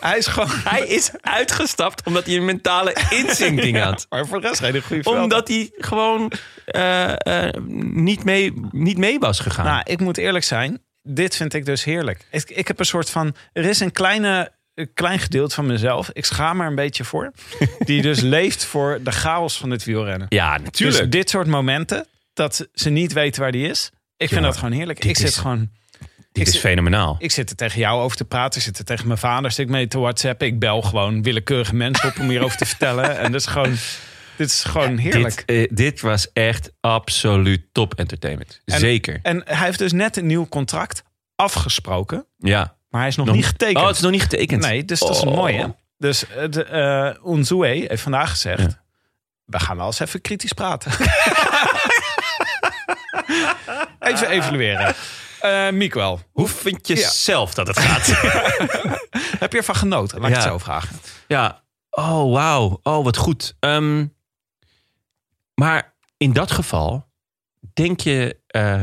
hij is gewoon...
Hij is uitgestapt omdat hij een <laughs> mentale inzinking had.
Maar voor de rest reed hij een goede Vuelta.
Omdat hij gewoon eh, eh, niet, mee, niet mee was gegaan.
Nou, ik moet eerlijk zijn. Dit vind ik dus heerlijk. Ik, ik heb een soort van... Er is een kleine, een klein gedeelte van mezelf. Ik schaam er een beetje
<laughs>
voor. Die dus leeft voor de chaos van het wielrennen.
ja,
Dus dit soort momenten. Dat ze niet weten waar die is. Ik vind
Jongen,
dat gewoon heerlijk.
dit
Ik zit
is-
gewoon...
dit
ik
is
zit-
fenomenaal.
Ik zit er tegen jou over te praten. Ik zit er tegen mijn
<laughs>
vader. Zit ik mee te whatsappen. Ik bel gewoon willekeurige mensen op om hierover te vertellen. En dat is gewoon... Dit is gewoon heerlijk.
Dit, eh, dit was echt absoluut top entertainment.
En-
Zeker.
En hij heeft dus net een nieuw contract afgesproken.
ja.
Maar hij is nog, niet getekend.
Oh, het is nog niet getekend.
Nee, dus dat is
Oh.
mooi hè. Dus eh, de, eh Unzue heeft vandaag gezegd... we gaan wel eens even kritisch
<laughs>
praten. even evalueren. Eh Miekwel,
Hoe vind je
Ja.
zelf dat het
<laughs>
gaat?
heb je ervan genoten? Laat ik
Ja.
het zo vragen.
ja. Oh, wauw. Oh, wat goed. Ehm, maar in dat geval, denk je, eh,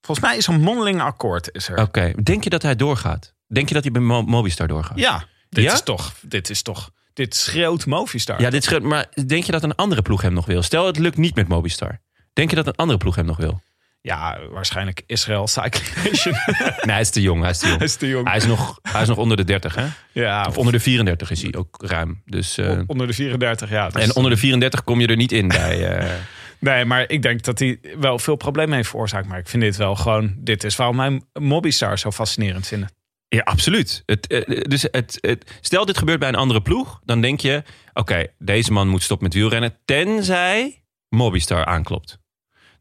Volgens mij is een mondeling akkoord is er.
oké, denk je dat hij doorgaat? Denk je dat hij bij Mo- Mobistar doorgaat?
Ja, dit
Ja?
is toch... Dit is toch... Dit schreeuwt Movistar.
Ja, dit scheelt, maar denk je dat een andere ploeg hem nog wil? Stel, het lukt niet met Mobistar. Denk je dat een andere ploeg hem nog wil?
Ja, waarschijnlijk Israël <laughs> Cycling Nation.
Nee, hij is te jong. Hij is te jong.
Hij is te jong.
Hij is nog, hij is nog onder de 30, hè?
ja,
Of onder de 34 is hij ook ruim. Dus, eh,
on- onder de 34 jaar. Dus-
en onder de 34 kom je er niet in bij. eh,
Nee, maar ik denk dat hij wel veel problemen heeft veroorzaakt. Maar ik vind dit wel gewoon... Dit is waarom mijn Mobbystar zo fascinerend vinden.
<laughs> Ja, absoluut. Het, eh, dus het, het, stel dit gebeurt bij een andere ploeg, dan denk je: oké, deze man moet stoppen met wielrennen, tenzij Mobistar aanklopt.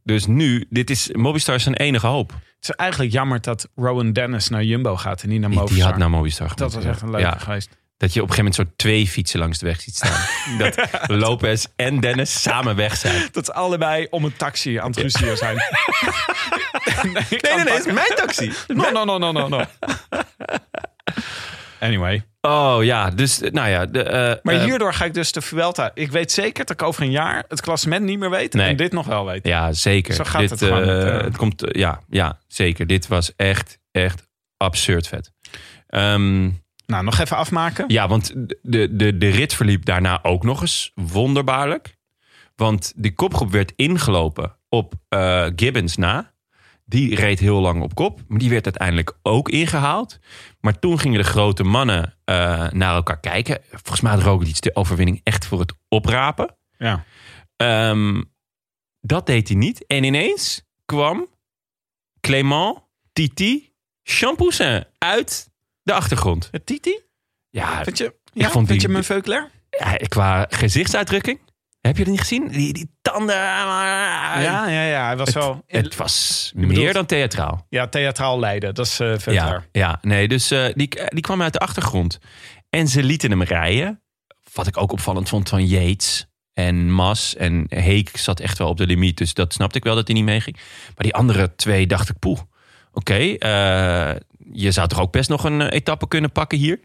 Dus nu, dit is Mobistar is zijn enige hoop.
Het is eigenlijk jammer dat Rowan Dennis naar Jumbo gaat en niet naar
Die,
Movistar.
die had naar Mobistar
dat
gemoeten,
was
ja.
echt een leuke
Ja,
geweest.
dat je op een gegeven moment zo twee fietsen langs de weg ziet staan.
<laughs>
dat Lopez en Dennis samen weg zijn.
Dat ze allebei om een taxi aan het
<laughs>
ruzie zijn. nee, ik kan
Nee, nee,
<laughs>
nee, het
pakken.
is mijn taxi.
No, no, no, no, no, no. Anyway.
Oh ja, dus nou ja. De, eh,
Maar
eh,
hierdoor ga ik dus de Vuelta... Ik weet zeker dat ik over een jaar het klassement niet meer weet.
Nee.
En dit nog wel weet.
Ja, zeker.
Zo gaat
dit,
het gewoon
eh,
met, eh,
het komt, eh, ja, ja, zeker. Dit was echt, echt absurd vet. Ehm,
Nou, nog even afmaken.
ja, want de, de, de rit verliep daarna ook nog eens wonderbaarlijk. Want die kopgroep werd ingelopen op eh, Gibbons na. Die reed heel lang op kop. Maar die werd uiteindelijk ook ingehaald. Maar toen gingen de grote mannen eh, naar elkaar kijken. Volgens mij had Roglic de overwinning echt voor het oprapen.
Ja.
Ehm, dat deed hij niet. En ineens kwam Clément Titi Champoussin uit de achtergrond.
Titi?
Ja,
Vind je,
Ik
ja,
vond
vind
die-
je me Veuclair?
ja, qua gezichtsuitdrukking. Heb je dat niet gezien? Die, die tanden.
Ja, ja, ja. Hij was wel
Het was meer
bedoelt-
dan theatraal.
ja, theatraal leiden. Dat is eh
Ja,
Veuclair.
ja, nee, dus eh, die, die kwam uit de achtergrond. En ze lieten hem rijden. Wat ik ook opvallend vond van Yates en Mas. En Heek zat echt wel op de limiet. Dus dat snapte ik wel dat hij niet meeging. Maar die andere twee dacht ik, poeh. Oké, eh, je zou toch ook best nog een eh, etappe kunnen pakken hier.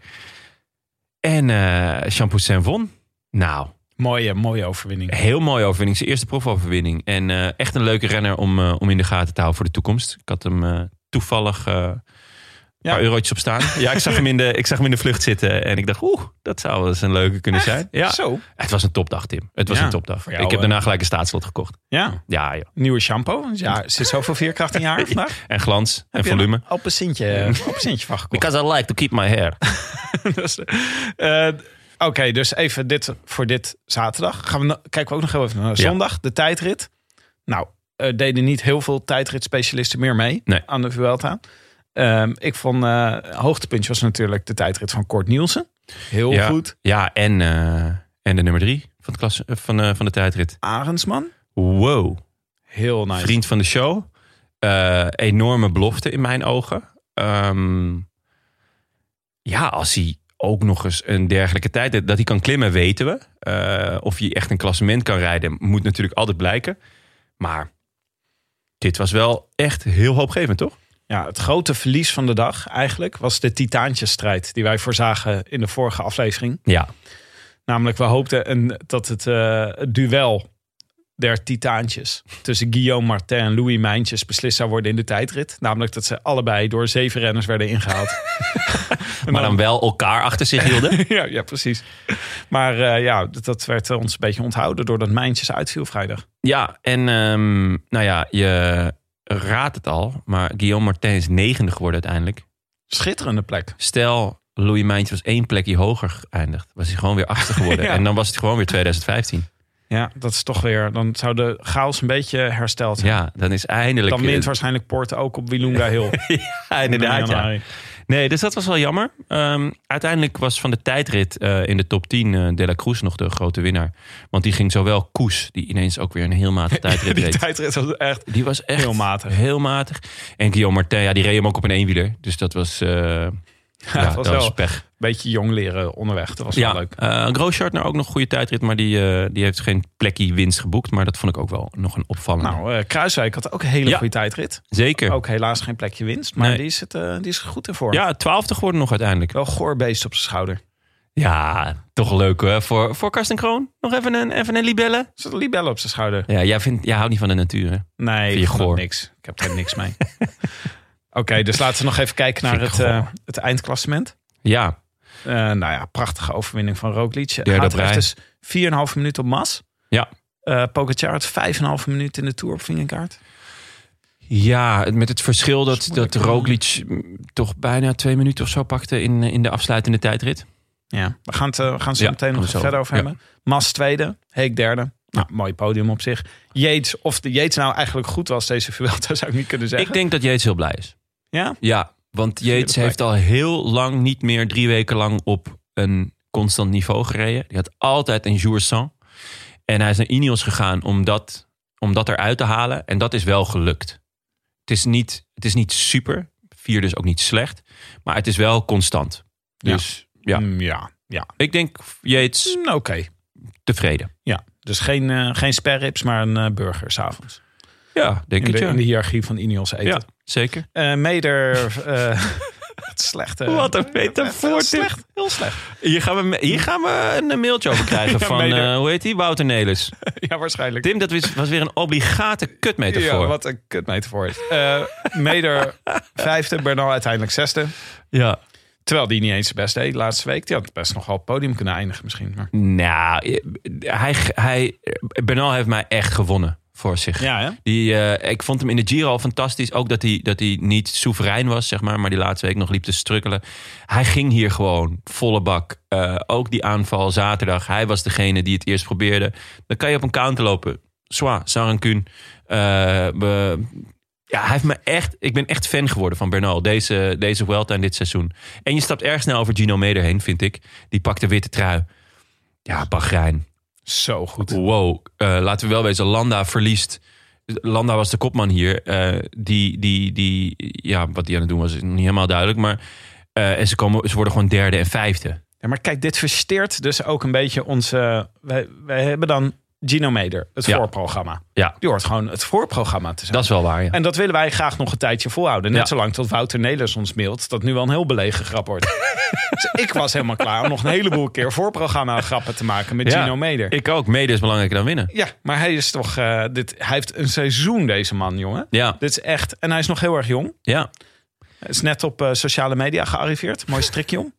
En eh Champoussin won. Nou,
Mooie, mooie overwinning.
heel mooie overwinning. Zijn eerste profoverwinning. En eh, echt een leuke renner om, eh, om in de gaten te houden voor de toekomst. Ik had hem eh, toevallig eh, een
Ja.
paar eurotjes op staan. Ja, ik zag, hem in de, ik zag hem in de vlucht zitten. En ik dacht, oeh, dat zou wel eens een leuke kunnen zijn. Ja.
Zo.
Het was een topdag, Tim. Het was
Ja,
een topdag.
voor jou,
ik heb
eh.
daarna gelijk een staatslot gekocht.
Ja.
Ja, joh.
Nieuwe shampoo. Want Ja, er zit zoveel veerkracht in
<laughs>
je haar vandaag.
En glans en
Heb je
volume.
een appelsintje, appelsintje van gekocht.
Because I like to keep my hair.
Dus, <laughs> eh, Oké, dus even dit voor dit zaterdag. Gaan we, no- kijken we ook nog heel even naar zondag, de tijdrit. Nou, er deden niet heel veel tijdritspecialisten meer mee
Nee.
aan de Vuelta. Ehm, ik vond, eh hoogtepuntje was natuurlijk de tijdrit van Kort Nielsen. Heel
ja.
goed.
Ja, en, eh, en de nummer drie van, het klasse, eh, van, eh, van de tijdrit.
Arendsman.
Wow.
Heel nice.
vriend van de show. Eh, enorme belofte in mijn ogen. Ehm, ja, als hij ook nog eens een dergelijke tijd... Dat hij kan klimmen, weten we. Eh, of hij echt een klassement kan rijden, moet natuurlijk altijd blijken. Maar dit was wel echt heel hoopgevend, toch?
Ja, het grote verlies van de dag eigenlijk was de titaantjesstrijd die wij voorzagen in de vorige aflevering.
Ja.
Namelijk, we hoopten een, dat het, eh, het duel der titaantjes tussen Guillaume Martin en Louis Mijntjes beslist zou worden in de tijdrit. Namelijk dat ze allebei door zeven renners werden ingehaald.
<laughs>
En
Maar dan wel elkaar achter zich hielden.
<laughs> ja, ja, precies. Maar eh, ja, dat, dat werd ons een beetje onthouden doordat Mijntjes uitviel vrijdag.
<laughs> ja, en ehm, nou ja, je raadt het al. Maar Guillaume Martin is negende geworden uiteindelijk.
Schitterende plek.
Stel, Louis Mijntje was één plekje hoger geëindigd. Was hij gewoon weer achter geworden.
<laughs> Ja.
En dan was het gewoon weer 2015.
Ja, dat is toch weer. Dan zou de chaos een beetje hersteld zijn.
Ja, dan is eindelijk... <laughs>
Dan wint waarschijnlijk Poort ook op Wilunga Hill.
Ja, inderdaad, ja. Nee, dus dat was wel jammer. Ehm, uiteindelijk was van de tijdrit eh, in de top 10 eh, De La Cruz nog de grote winnaar. Want die ging zowel Koes, die ineens ook weer een heel
<laughs>
matig tijdrit
Die
reed.
tijdrit was echt...
Die was echt
Heel matig.
heel matig. En Guillaume Martin, ja, die reed hem ook op een eenwieler. Dus dat was, eh, ja,
het was
dat
wel
was pech.
beetje jong leren onderweg. Dat was
Ja,
wel leuk.
eh, Grosjean ook nog een goede tijdrit, maar die, eh, die heeft geen plekje winst geboekt. Maar dat vond ik ook wel nog een opvallende.
Nou, eh, Kruiswijk had ook een hele
Ja.
goede tijdrit.
Zeker.
Ook helaas geen plekje winst. Maar
Nee.
die, is het, eh, die is goed ervoor.
Ja, twaalfde geworden nog uiteindelijk.
Wel goorbeest op zijn schouder.
Ja, toch leuk hè. Voor, voor Karsten Kroon, nog even een, even een libelle.
Er zat een libelle op zijn schouder.
Ja, jij, vindt, jij houdt niet van de natuur hè?
Nee,
Vind
ik
je
vond dat
goor?
niks. Ik heb er niks mee. <laughs> Oké, dus laten we nog even kijken naar
Vind ik
het, eh,
goor.
het eindklassement.
Ja,
Eh, nou ja, prachtige overwinning van Roglic.
Derde
Hij
op rij.
dus 4,5 minuten op Mas.
Ja.
Eh Pogacar had 5,5 minuten in de Tour op Vingegaard.
ja het- met het verschil dat, dat
moeilijk, hè?
Roglic mm, toch bijna twee minuten of zo pakte in, eh, in de afsluitende tijdrit.
Ja, we gaan het eh, we gaan het zo
Ja,
meteen nog
gaan we
even
zo.
verder over
Ja.
hebben. Mas tweede, Heek derde. Nou, mooi podium op zich. Yates, of de Yates nou eigenlijk goed was deze Vuelta, <laughs> zou ik niet kunnen zeggen.
Ik denk dat Jeets heel blij is.
Ja?
Ja, want
Vierde
Yates
plek.
heeft al heel lang niet meer drie weken lang op een constant niveau gereden. Die had altijd een jour sans. En hij is naar Ineos gegaan om dat, om dat eruit te halen. En dat is wel gelukt. Het is niet, het is niet super. Vier dus ook niet slecht. Maar het is wel constant.
Ja.
Dus ja,
Mm, ja, ja.
ik denk Yates
Mm, Oké.
tevreden.
Ja, dus geen, eh geen sperrips, maar een eh, burger s'avonds.
Ja, denk
In,
ik
de- in de
ja.
hiërarchie van Ineos eten.
Ja, zeker.
Eh, Meder. eh <laughs> wat slecht. eh.
Wat een
Heel
metafoor.
slecht. Heel slecht.
Hier gaan, we, hier gaan we een mailtje over krijgen
<laughs> Ja,
van,
mede.
eh, hoe heet die, Wouter Nelis.
<laughs> ja, waarschijnlijk.
Tim, dat was, was weer een obligate kutmetafoor.
Ja, wat een kutmetafoor is. Eh, Meder vijfde, Bernal uiteindelijk zesde.
Ja.
Terwijl die niet eens zijn best deed de laatste week. Die had best nogal op het podium kunnen eindigen misschien. Maar...
Nou, eh, hij, hij, Bernal heeft mij echt gewonnen voor zich.
Ja, hè?
Die, eh, ik vond hem in de Giro al fantastisch. Ook dat hij, dat hij niet soeverein was, zeg maar. Maar die laatste week nog liep te strukkelen. Hij ging hier gewoon volle bak. Eh, ook die aanval zaterdag. Hij was degene die het eerst probeerde. Dan kan je op een counter lopen. Sois, Sarancun. Eh, ja, hij heeft me echt... Ik ben echt fan geworden van Bernal. Deze, deze Vuelta en dit seizoen. En je stapt erg snel over Gino Meder heen, vind ik. Die pakt de witte trui. Ja, Bahrein.
Zo goed.
Wow, eh, laten we wel wezen, Landa verliest. Landa was de kopman hier. eh, die, die, die, ja, wat die aan het doen was, is nog niet helemaal duidelijk. Maar eh, en ze, komen, ze worden gewoon derde en vijfde.
Ja, maar kijk, dit versteert dus ook een beetje onze... eh, Wij, wij hebben dan Gino Meder, het
Ja.
voorprogramma.
Ja.
Die hoort gewoon het voorprogramma te zijn.
Dat is wel waar, ja.
En dat willen wij graag nog een tijdje volhouden. Net
Ja.
zolang tot Wouter Nelis ons mailt dat nu wel een heel belegen grap <laughs> wordt. dus ik was helemaal klaar om nog een heleboel keer voorprogramma grappen te maken met
Ja,
Gino Meder.
Ik ook. Mede is belangrijker dan winnen.
Ja, maar hij is toch... eh, dit, hij heeft een seizoen, deze man, jongen.
Ja,
Dit is echt... En hij is nog heel erg jong.
ja.
Hij is net op eh, sociale media gearriveerd. Mooi strikje om.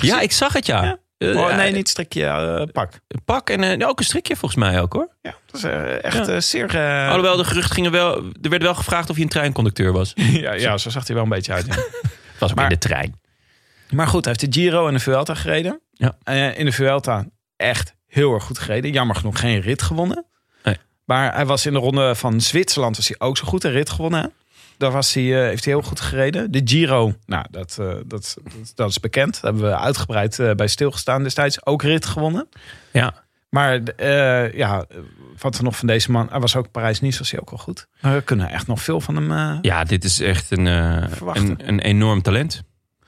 ja ik zag het, ja.
Dus- Ja.
Eh,
Oh, nee,
eh,
niet strikje, eh, pak.
Pak en eh, ook een strikje volgens mij ook, hoor.
Ja, dat is eh, echt
Ja. Oh,
eh, zeer... eh,
Alhoewel, de geruchten gingen wel... Er werd wel gevraagd of hij een treinconducteur was.
<laughs> ja, ja, zo zag hij wel een beetje uit. ja.
Was ook
Maar-
in de trein.
Maar goed, hij heeft de Giro en de Vuelta gereden.
Ja.
Eh, in de Vuelta echt heel erg goed gereden. Jammer genoeg geen rit gewonnen.
Nee.
Maar hij was in de ronde van Zwitserland was hij ook zo goed een rit gewonnen. hè? Daar was hij, eh, heeft hij heel goed gereden. De Giro, nou, dat, eh, dat, dat, dat is bekend. Daar hebben we uitgebreid eh, bij stilgestaan destijds. Ook rit gewonnen.
Ja.
Maar eh, ja, wat er nog van deze man... Hij was ook Parijs-Nice, was hij ook wel goed. Maar we kunnen echt nog veel van hem... eh,
Ja, dit is echt een, eh,
Verwachten.
een, een enorm talent.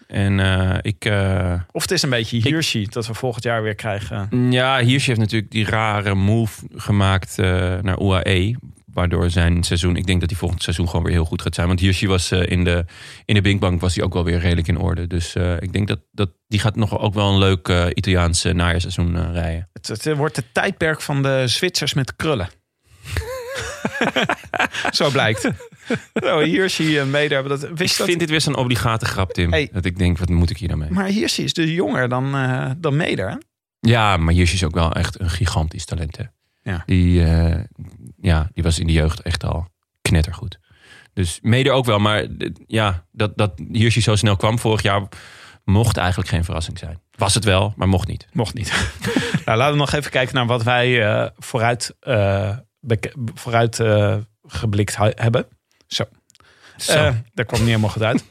En eh, ik... eh,
Of het is een beetje Hirschi dat we volgend jaar weer krijgen.
Ja, Hirschi heeft natuurlijk die rare move gemaakt eh, naar UAE. Waardoor zijn seizoen, ik denk dat hij volgend seizoen gewoon weer heel goed gaat zijn. Want Hirschi was eh, in de, in de Binkbank was hij ook wel weer redelijk in orde. Dus eh, ik denk dat, dat die gaat nog ook wel een leuk eh, Italiaanse najaarseizoen eh, rijden.
Het, het wordt het tijdperk van de Zwitsers met krullen. <laughs> Zo blijkt. Nou, Hirschi en Meder hebben dat.
Ik
Wist je
vind
dat?
dit weer zo'n obligate grap, Tim.
Hey.
Dat ik denk, wat moet ik hier nou mee?
Maar Hirschi is dus jonger dan, eh dan Meder. hè?
Ja, maar Hirschi is ook wel echt een gigantisch talent. Hè?
Ja.
Die, eh, ja, die was in de jeugd echt al knettergoed. Dus mede ook wel, maar eh, ja, dat, dat Hirschi zo snel kwam vorig jaar mocht eigenlijk geen verrassing zijn. Was het wel, maar mocht niet.
Mocht niet. <laughs> nou, laten we nog even kijken naar wat wij eh, vooruit, eh, beke- vooruit eh, geblikt hu- hebben. Zo. Eh, daar kwam niet helemaal goed uit.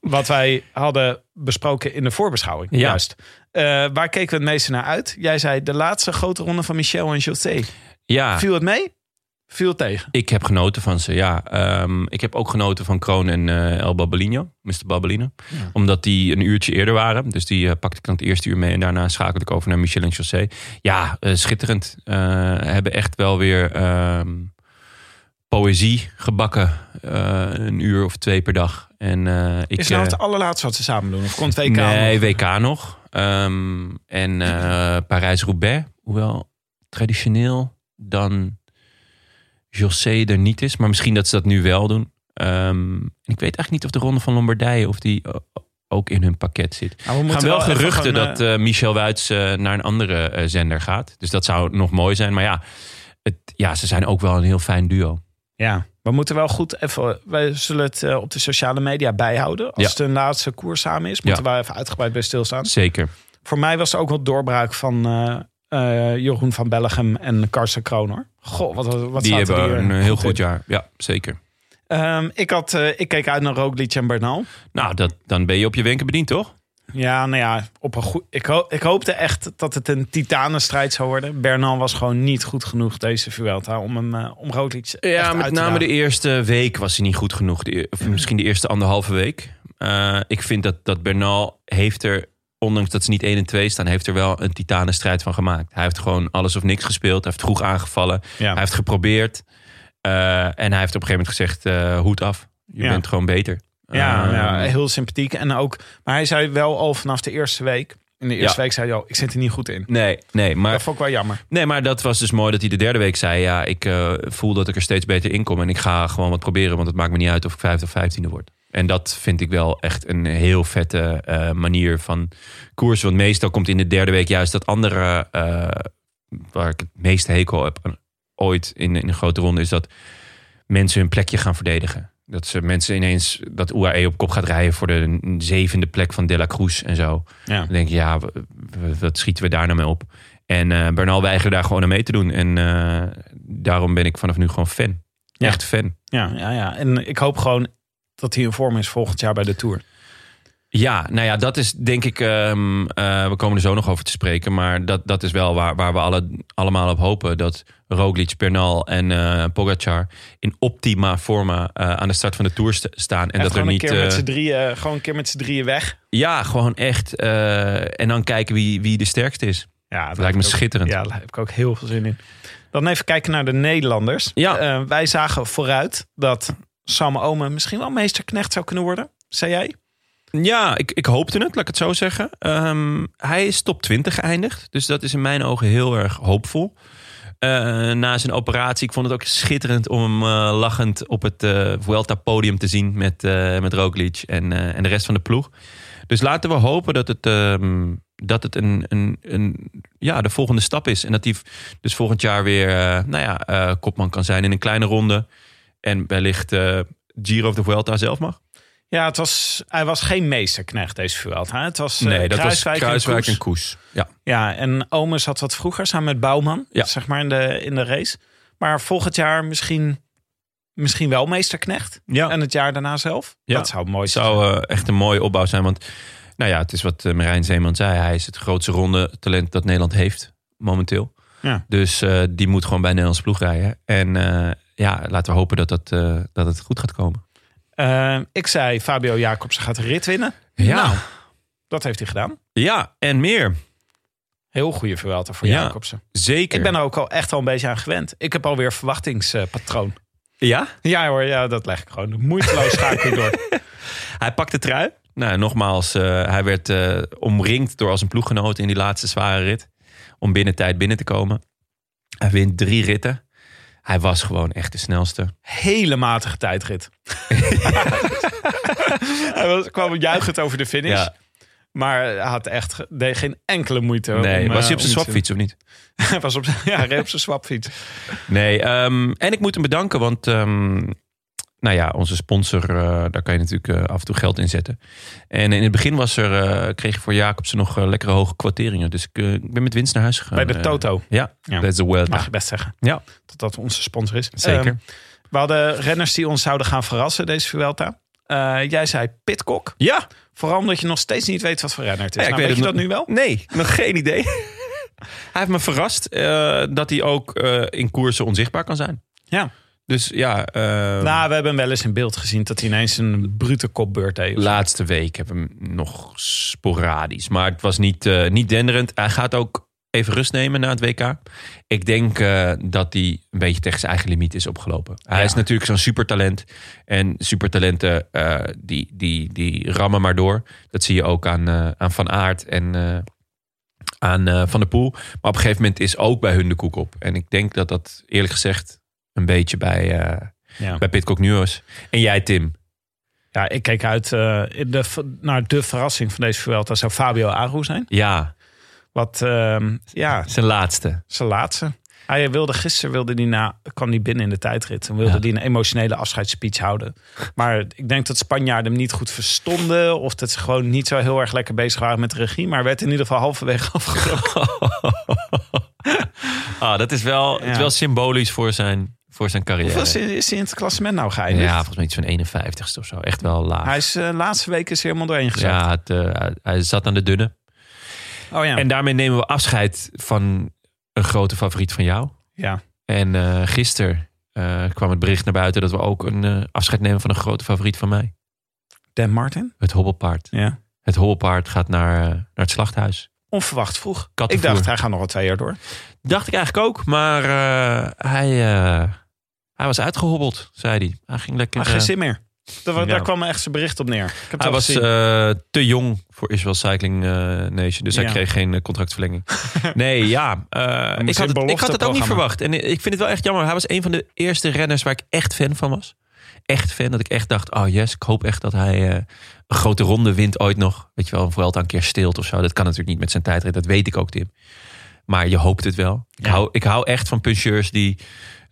Wat wij hadden besproken in de voorbeschouwing.
Ja.
Juist. Eh, waar keken we het meeste naar uit? Jij zei de laatste grote ronde van Michel en José.
ja,
Viel het mee? Viel het tegen?
ik heb genoten van ze, ja. Ehm, ik heb ook genoten van Kroon en eh, El Babelino, Mr. Babelino. Omdat die een uurtje eerder waren. Dus die eh, pakte ik dan het eerste uur mee. En daarna schakelde ik over naar Michel en José. Ja, eh, schitterend. Eh, hebben echt wel weer ehm, poëzie gebakken. Eh, een uur of twee per dag. En, eh, ik,
Is nou
eh,
het allerlaatste wat ze samen doen? Of komt WK?
Nee,
nog?
WK nog. Ehm, en eh, Parijs-Roubaix. Hoewel traditioneel dan José er niet is. Maar misschien dat ze dat nu wel doen. Ehm, en ik weet eigenlijk niet of de Ronde van Lombardije... of die eh, ook in hun pakket zit.
Nou, we
Er gaan
moeten
wel
even
geruchten
gewoon, eh,
dat eh, Michel Wuits eh, naar een andere eh, zender gaat. Dus dat zou nog mooi zijn. Maar ja, het, ja, ze zijn ook wel een heel fijn duo.
Ja, we moeten wel goed even. Wij zullen het eh, op de sociale media bijhouden. Als
Ja.
het een laatste koers samen is, moeten we even uitgebreid bij stilstaan.
Zeker.
Voor mij was er ook wel doorbraak van eh, eh, Jeroen van Bellegem en Karsten Kroner. Goh, wat, wat
die
zaten
hebben
die er
een heel goed
in?
jaar. Ja, zeker.
Ehm, ik, had, eh, ik keek uit naar Roglic en Bernal.
Nou, dat, dan ben je op je wenken bediend, toch?
Ja, nou ja, op een goed, ik, ho- ik hoopte echt dat het een titanenstrijd zou worden. Bernal was gewoon niet goed genoeg deze Vuelta om, hem, eh, om Roglic echt
Ja,
uit
met
te Mhm.
name
dagen.
de eerste week was hij niet goed genoeg. De, of misschien de eerste anderhalve week. Eh, ik vind dat, dat Bernal heeft er, ondanks dat ze niet 1 en 2 staan, heeft er wel een titanenstrijd van gemaakt. Hij heeft gewoon alles of niks gespeeld. Hij heeft vroeg aangevallen.
Ja.
Hij heeft geprobeerd. Eh, en hij heeft op een gegeven moment gezegd, eh, hoed af. Je
Ja.
bent gewoon beter.
Ja,
Eh,
ja, heel sympathiek. En ook, maar hij zei wel al vanaf de eerste week. In de eerste
Ja.
week zei hij al, ik zit er niet goed in.
Nee, nee, maar
Dat vond ik wel jammer.
Nee, maar dat was dus mooi dat hij de derde week zei... ja, ik eh, voel dat ik er steeds beter in kom... en ik ga gewoon wat proberen, want het maakt me niet uit... of ik vijfde of vijftiende word. En dat vind ik wel echt een heel vette eh, manier van koersen. Want meestal komt in de derde week juist dat andere... eh, waar ik het meeste hekel heb aan ooit in, in een grote ronde... is dat mensen hun plekje gaan verdedigen. Dat ze mensen ineens dat UAE op kop gaat rijden... voor de zevende plek van De La Cruz en zo.
Ja.
Dan denk je, ja, w- w- wat schieten we daar nou mee op? En eh, Bernal weigerde daar gewoon aan mee te doen. En eh, daarom ben ik vanaf nu gewoon fan.
Ja.
Echt fan.
Ja, ja, ja. En ik hoop gewoon dat hij in vorm is volgend jaar bij de Tour.
Ja, nou ja, dat is denk ik... ehm, eh, we komen er zo nog over te spreken. Maar dat, dat is wel waar, waar we alle, allemaal op hopen. Dat Roglic, Bernal en eh Pogacar in optima forma eh, aan de start van de Tour st- staan. En
En
dat er
gewoon,
niet...
een keer met
eh,
z'n drieën, gewoon een keer met z'n drieën weg.
ja, gewoon echt. eh, en dan kijken wie, wie de sterkste is.
Ja, dat
Lijkt me schitterend.
Ja, daar heb ik ook heel veel zin in. Dan even kijken naar de Nederlanders.
Ja.
Eh, wij zagen vooruit dat Sam Omen misschien wel meesterknecht zou kunnen worden. Zei jij?
Ja, ik, ik hoopte het, laat ik het zo zeggen. Ehm, hij is top 20 geëindigd. Dus dat is in mijn ogen heel erg hoopvol. Eh, na zijn operatie, ik vond het ook schitterend om hem eh, lachend op het eh Vuelta-podium te zien met, eh met Roglic en, eh, en de rest van de ploeg. Dus laten we hopen dat het, ehm, dat het een, een, een, ja, de volgende stap is. En dat hij v- dus volgend jaar weer eh, nou ja, eh, kopman kan zijn in een kleine ronde. En wellicht eh, Giro of de Vuelta zelf mag.
Ja, het was, hij was geen meesterknecht deze Vuelta. hè? Het was eh,
Nee, dat
Kruiswijk, en
was Kruiswijk
Koes.
en Koes. Ja.
Ja, en Omer zat wat vroeger samen met Bouwman,
Ja.
zeg maar, in de, in de race. Maar volgend jaar misschien, misschien wel meesterknecht.
Ja.
En het jaar daarna zelf.
Ja.
Dat zou mooi
Het
zijn.
zou eh, echt een mooie opbouw zijn. Want nou ja, het is wat eh, Merijn Zeeman zei. Hij is het grootste ronde talent dat Nederland heeft momenteel.
Ja.
Dus eh, die moet gewoon bij Nederlands ploeg rijden. En eh, ja, laten we hopen dat, dat, eh, dat het goed gaat komen.
Eh, ik zei, Fabio Jacobsen gaat de rit winnen.
Ja,
Nou. Dat heeft hij gedaan.
ja en meer.
Heel goede Vuelta voor
Ja.
Jacobsen.
Zeker.
Ik ben er ook al echt al een beetje aan gewend. Ik heb alweer verwachtingspatroon.
Ja?
Ja hoor, ja, dat leg ik gewoon moeiteloos schakel
<laughs>
door.
Hij pakt de trui. Nou, nogmaals, eh, hij werd eh, omringd door als een ploeggenoot in die laatste zware rit. Om binnen tijd binnen te komen. Hij wint drie ritten. Hij was gewoon echt de snelste.
Hele matige
<laughs>
tijdrit. hij was, kwam juichend over de finish.
Ja.
Maar hij had echt ge- deed geen enkele moeite.
Nee,
om,
was hij op
eh,
zijn
om te-
swapfiets Oh, of niet?
<laughs> Hij was op zijn, ja, hij reed op zijn swapfiets.
Nee, ehm, en ik moet hem bedanken, want ehm, nou ja, onze sponsor, eh, daar kan je natuurlijk eh, af en toe geld in zetten. En in het begin was er, eh, kreeg je voor Jacobsen nog eh, lekkere hoge kwarteringen. Dus ik, eh, ik ben met winst naar huis gegaan.
Bij de
Eh,
Toto,
ja,
Ja.
dat is de Welta.
mag je best zeggen.
Ja.
Dat dat onze sponsor is.
Zeker.
Ehm, We hadden renners die ons zouden gaan verrassen deze Vuelta. Eh, jij zei Pitcock.
Ja,
Vooral omdat je nog steeds niet weet wat voor renner het is.
Ja,
Nou, weet je dat
nog-
nu wel?
Nee, nog geen idee. <laughs> hij heeft me verrast eh, dat hij ook eh, in koersen onzichtbaar kan zijn.
Ja.
Dus ja, eh,
Nou, we hebben hem wel eens in beeld gezien dat hij ineens een brute kopbeurt deed. of zo.
laatste week heb ik hem nog sporadisch. Maar het was niet, eh, niet denderend. Hij gaat ook even rust nemen na het WK. Ik denk eh, dat hij een beetje tegen zijn eigen limiet is opgelopen. Hij
Ja.
is natuurlijk zo'n supertalent. En supertalenten, eh, die, die, die rammen maar door. Dat zie je ook aan, eh, aan Van Aert en... eh, aan eh, Van der Poel. Maar op een gegeven moment is ook bij hun de koek op. En ik denk dat dat eerlijk gezegd een beetje bij, eh
Ja.
bij Pitcock nu is. En jij Tim.
ja, ik keek uit eh, in de, naar de verrassing van deze Vuelta. Zou Fabio Aru zijn.
Ja,
Wat, ehm, ja,
zijn laatste.
zijn laatste. Hij wilde gisteren wilde die na, kwam hij binnen in de tijdrit. En wilde
Ja.
die een emotionele afscheidsspeech houden. Maar ik denk dat Spanjaarden hem niet goed verstonden. Of dat ze gewoon niet zo heel erg lekker bezig waren met de regie. Maar werd in ieder geval halverwege <laughs> afgebroken.
Ah, dat is wel, het is
Ja.
wel symbolisch voor zijn, voor zijn
Hoeveel
carrière.
is, is hij in het klassement nou geëindigd?
ja, volgens mij iets van 51 of zo. Echt wel laag.
Hij is eh, laatste week is hij helemaal doorheen gezet.
ja, het, eh, hij- hij zat aan de dunne.
Oh ja.
En daarmee nemen we afscheid van een grote favoriet van jou.
ja.
En eh gisteren eh, kwam het bericht naar buiten dat we ook een eh, afscheid nemen van een grote favoriet van mij.
Dan Martin?
Het hobbelpaard.
Ja.
Het hobbelpaard gaat naar, eh, naar het slachthuis.
Onverwacht vroeg. Ik
Kattenvoer.
dacht, hij gaat nog wel twee jaar door.
Dacht ik eigenlijk ook, maar eh, hij, eh, hij was uitgehobbeld, zei hij. Hij ging lekker.
Maar geen
eh,
zin meer. Daar,
Ja.
daar kwam echt zijn bericht op neer. Ik heb het
hij
al
was
gezien.
eh, te jong voor Israel Cycling eh, Nation, dus
Ja.
hij kreeg geen eh,
<laughs>
contractverlenging. nee, ja. eh, ik,
moest
had
in
het, ik had het ook
belofteprogramma.
niet verwacht. En ik vind het wel echt jammer. Hij was een van de eerste renners waar ik echt fan van was. Echt fan, dat ik echt dacht, oh yes, ik hoop echt dat hij eh, een grote ronde wint ooit nog. Weet je wel, een Vuelta een keer steelt of zo. Dat kan natuurlijk niet met zijn tijdrit, dat weet ik ook, Tim. Maar je hoopt het wel. Ik,
Ja.
hou, ik hou echt van puncheurs die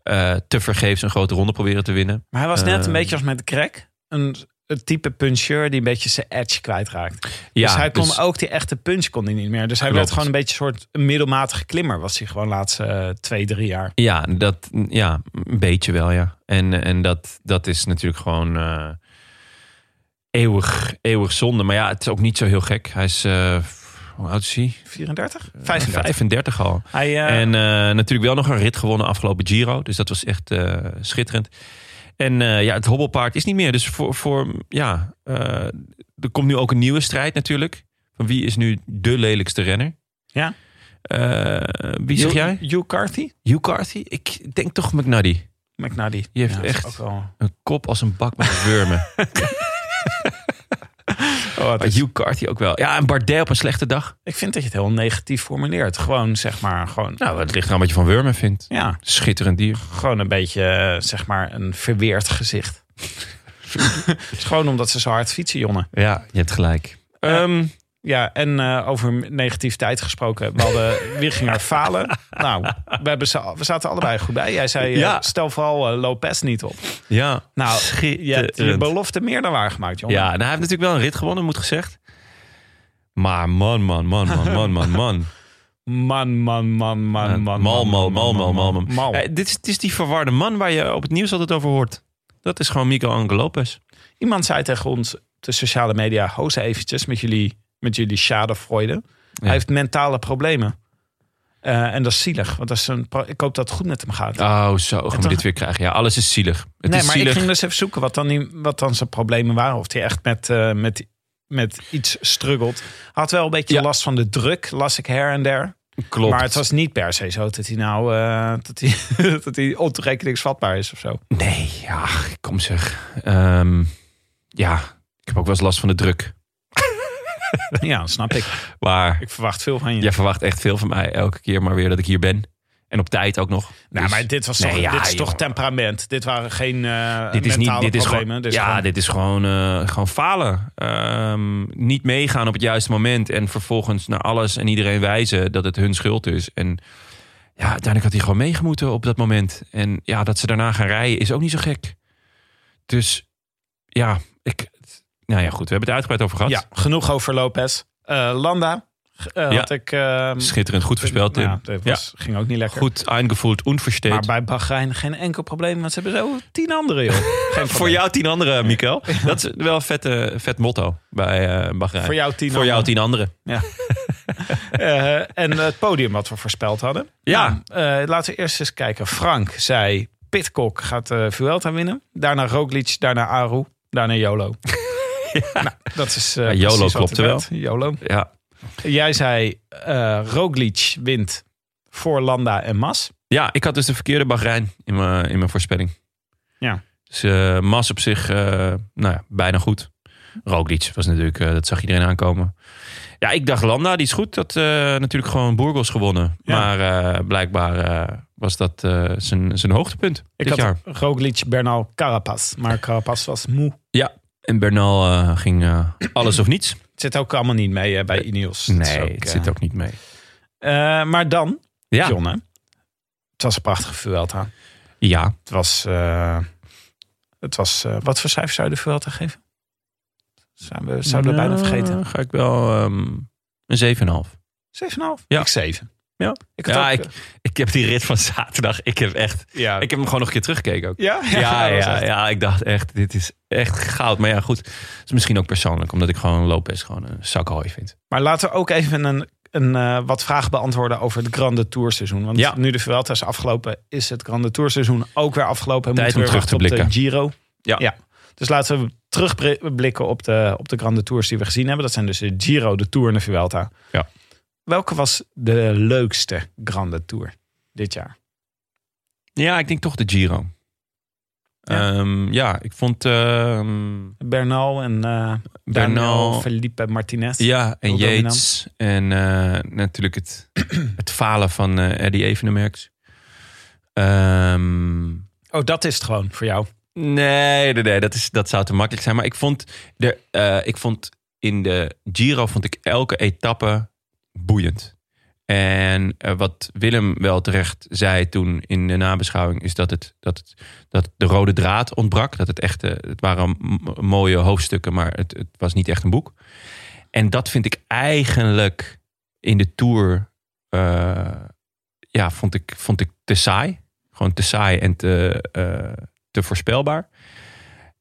eh te vergeefs een grote ronde proberen te winnen.
maar hij was net een
eh,
beetje als met crack. Een, een type puncheur die een beetje zijn edge kwijtraakt.
Ja,
dus hij kon
dus-
ook die echte punch kon hij niet meer. Dus hij
Klopt.
werd gewoon een beetje een soort een middelmatige klimmer. Was hij gewoon de laatste eh, twee, drie jaar.
Ja, dat, ja, een beetje wel, ja. En, en dat, dat is natuurlijk gewoon eh, eeuwig, eeuwig zonde. Maar ja, het is ook niet zo heel gek. Hij is, eh, hoe oud is hij?
34? 35.
35 al.
Hij, eh,
Eh, En eh, natuurlijk wel nog een rit gewonnen afgelopen Giro. Dus dat was echt eh, schitterend. En eh, ja, het hobbelpaard is niet meer. Dus voor, voor ja, eh, er komt nu ook een nieuwe strijd natuurlijk. Van wie is nu de lelijkste renner?
Ja.
Eh, wie zeg
Hugh-
jij?
Hugh Carthy?
Hugh Carthy? Ik denk toch McNuddy.
McNally.
Die heeft
Ja, dat is
echt
ook wel-
een kop als een bak met <laughs> wurmen.
Oh, het
Maar
is-
Hugh Carthy ook wel. Ja, en Bardet op een slechte dag.
Ik vind dat je het heel negatief formuleert. Gewoon zeg maar, gewoon,
Nou, het ligt eraan wat je van wurmen vindt.
ja,
Schitterend dier.
gewoon een beetje eh, zeg maar een verweerd gezicht. <laughs> Het is gewoon omdat ze zo hard fietsen, jongen.
Ja, je hebt gelijk. Ehm,
Ja, en eh, over negativiteit gesproken.
<laughs>
We hadden wie ging er falen. Nou, we, hebben ze, we zaten allebei goed bij. Jij zei, eh,
Ja.
stel vooral eh, Lopez niet op.
ja,
Nou, je hebt je
Schitterend.
belofte meer dan waargemaakt, jongen.
ja nou, hij heeft natuurlijk wel een rit gewonnen, moet gezegd. Maar man, man, man, man, man, <laughs> man, man.
Man, man, man, man, man. man,
Mal, mal,
man,
mal, mal, mal, mal.
mal.
Eh, dit, is, dit is die verwarde man waar je op het nieuws altijd over hoort. Dat is gewoon Miguel Angel Lopez.
Iemand zei tegen ons op de sociale media: hoze eventjes met jullie, met jullie schadefreude. Hij heeft mentale problemen. Eh, en dat is zielig, want dat is een pro- ik hoop dat het goed met hem gaat.
Oh, zo gaan we
toch-
dit weer krijgen. Ja, alles is zielig. Het
nee,
is
maar
zielig.
ik ging dus even zoeken wat dan, die, wat dan zijn problemen waren. Of hij echt met, eh, met, met iets struggelt. Hij had wel een beetje
Ja.
last van de druk, las ik her en der.
Klopt.
Maar het was niet per se zo dat hij nou eh, dat hij, <laughs> dat hij ontoerekeningsvatbaar is of zo. <laughs>
Nee, ja, kom zeg. Ehm, ja, ik heb ook wel eens last van de druk.
ja, dat snap ik.
Maar
Ik verwacht veel van je.
jij verwacht echt veel van mij elke keer maar weer dat ik hier ben. En op tijd ook nog.
Nou,
Dus
maar dit was
Nee,
toch,
ja,
dit is toch
joh.
temperament. Dit waren geen eh
dit is niet,
mentale
dit is
problemen.
gewoon,
Dit is
ja,
gewoon-
dit is gewoon, eh, gewoon falen. Ehm, niet meegaan op het juiste moment en vervolgens naar alles en iedereen wijzen dat het hun schuld is. En ja, uiteindelijk had hij gewoon meegemoeten op dat moment. En ja, dat ze daarna gaan rijden is ook niet zo gek. Dus ja, ik, nou ja, goed, we hebben het uitgebreid over gehad.
ja, genoeg over Lopez. Eh, Landa eh,
Ja.
had ik... ehm,
Schitterend, goed voorspeld, Tim.
Ja, dat was, ging ook niet lekker.
Goed aangevoeld,
Maar
onversteed.
bij Bahrein geen enkel probleem, want ze hebben zo tien
<laughs>
anderen, joh. Geen
Voor
probleem.
jou tien anderen, Mikkel. Dat is wel een vette, vet motto bij eh Bahrein.
Voor jou tien
Voor jou
anderen.
tien anderen.
Eh, en het podium wat we voorspeld hadden.
Ja.
Nou, eh, laten we eerst eens kijken. Frank zei, Pitcock gaat eh Vuelta winnen. Daarna Roglic, daarna Aru, daarna
<laughs>
Jolo. Nou, dat is eh,
Ja, Jolo
precies wat
klopte
er werd. Jolo.
Ja.
Jij zei, eh Roglic wint voor Landa en Mas.
ja, ik had dus de verkeerde Bahrein in mijn, in mijn voorspelling.
Ja.
Dus eh, Mas op zich, eh, nou ja, bijna goed. Roglic was natuurlijk, eh, dat zag iedereen aankomen. Ja, ik dacht Landa, die is goed. Dat eh, natuurlijk gewoon Burgos gewonnen.
Ja.
Maar eh, blijkbaar eh, was dat eh, zijn zijn hoogtepunt
Ik
dit
had
jaar.
Roglic, Bernal, Carapaz. Maar Carapaz was moe.
En Bernal eh, ging eh, alles of niets.
Het zit ook allemaal niet mee eh, bij Ineos. Dat is
Nee, het
eh,
zit ook niet mee.
eh, maar dan,
Ja,
John, hè? Het was een prachtige Vuelta.
ja.
Het was... eh, het was eh, wat voor cijfer zou je de Vuelta geven? Zijn we, zouden we bijna
Nou,
vergeten.
Ga ik wel ehm, een 7,5.
7,5?
Ja.
Ik 7.
Ja.
Ik had
Ja,
ook, eh,
Ik heb die rit van zaterdag. Ik heb echt.
ja.
Ik heb hem gewoon nog een keer teruggekeken ook.
<laughs> ja?
Ja,
dat was
ja,
echt-
ja, ik dacht echt, dit is echt goud. Maar ja, goed. Het is misschien ook persoonlijk, omdat ik gewoon Lopez gewoon een zak hooi vind.
Maar laten we ook even een, een, eh, wat vragen beantwoorden over het Grande Tour seizoen. Want
Ja.
nu de Vuelta is afgelopen, is het Grande Tour seizoen ook weer afgelopen. En
Tijd
moeten we
om
weer
terug te
wachten op de Giro.
Ja.
Dus laten we terugblikken op de, op de Grande Tours die we gezien hebben. Dat zijn dus de Giro, de Tour en de Vuelta.
Ja.
Welke was de leukste Grande Tour dit jaar?
Ja, ik denk toch de Giro. Ja,
Ja.
ja ik vond ehm,
Bernal en eh Bernal,
Bernal,
Felipe Martinez.
ja, en
heel dominant.
Yates. En eh, natuurlijk het, het falen van eh Eddie Evenemerks. Ehm
Oh, dat is het gewoon voor jou.
Nee, nee, nee dat, is, dat zou te makkelijk zijn. Maar ik vond, er, eh, ik vond in de Giro vond ik elke etappe boeiend. En eh, wat Willem wel terecht zei toen in de nabeschouwing... is dat, het, dat, het, dat de rode draad ontbrak. Dat het, echt, eh, het waren m- mooie hoofdstukken, maar het, het was niet echt een boek. En dat vind ik eigenlijk in de Tour... eh, ja, vond ik, vond ik te saai. Gewoon te saai en te... eh, te voorspelbaar.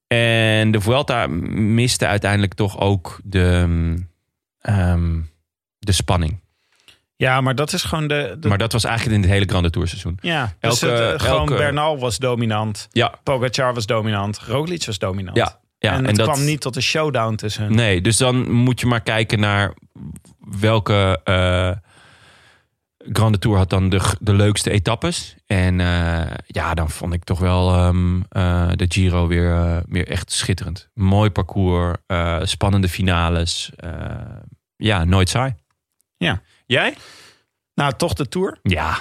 En de Vuelta miste uiteindelijk toch ook de, ehm, ehm, de spanning.
Ja, maar dat is gewoon de... de
Maar dat was eigenlijk in het hele Grande Tour seizoen.
ja, dus
elke-
het, eh, gewoon
elke-
Bernal was dominant.
Ja,
Pogacar was dominant, Roglic was dominant.
ja, ja.
en,
En,
het
dat
kwam niet tot een showdown tussen hen.
Nee, dus dan moet je maar kijken naar welke eh, Grande Tour had dan de, g- de leukste etappes. En eh, ja, dan vond ik toch wel ehm, eh, de Giro weer, eh, weer echt schitterend. Mooi parcours, eh, spannende finales. eh, ja, nooit saai.
Ja.
Jij?
Nou, toch de Tour.
Ja.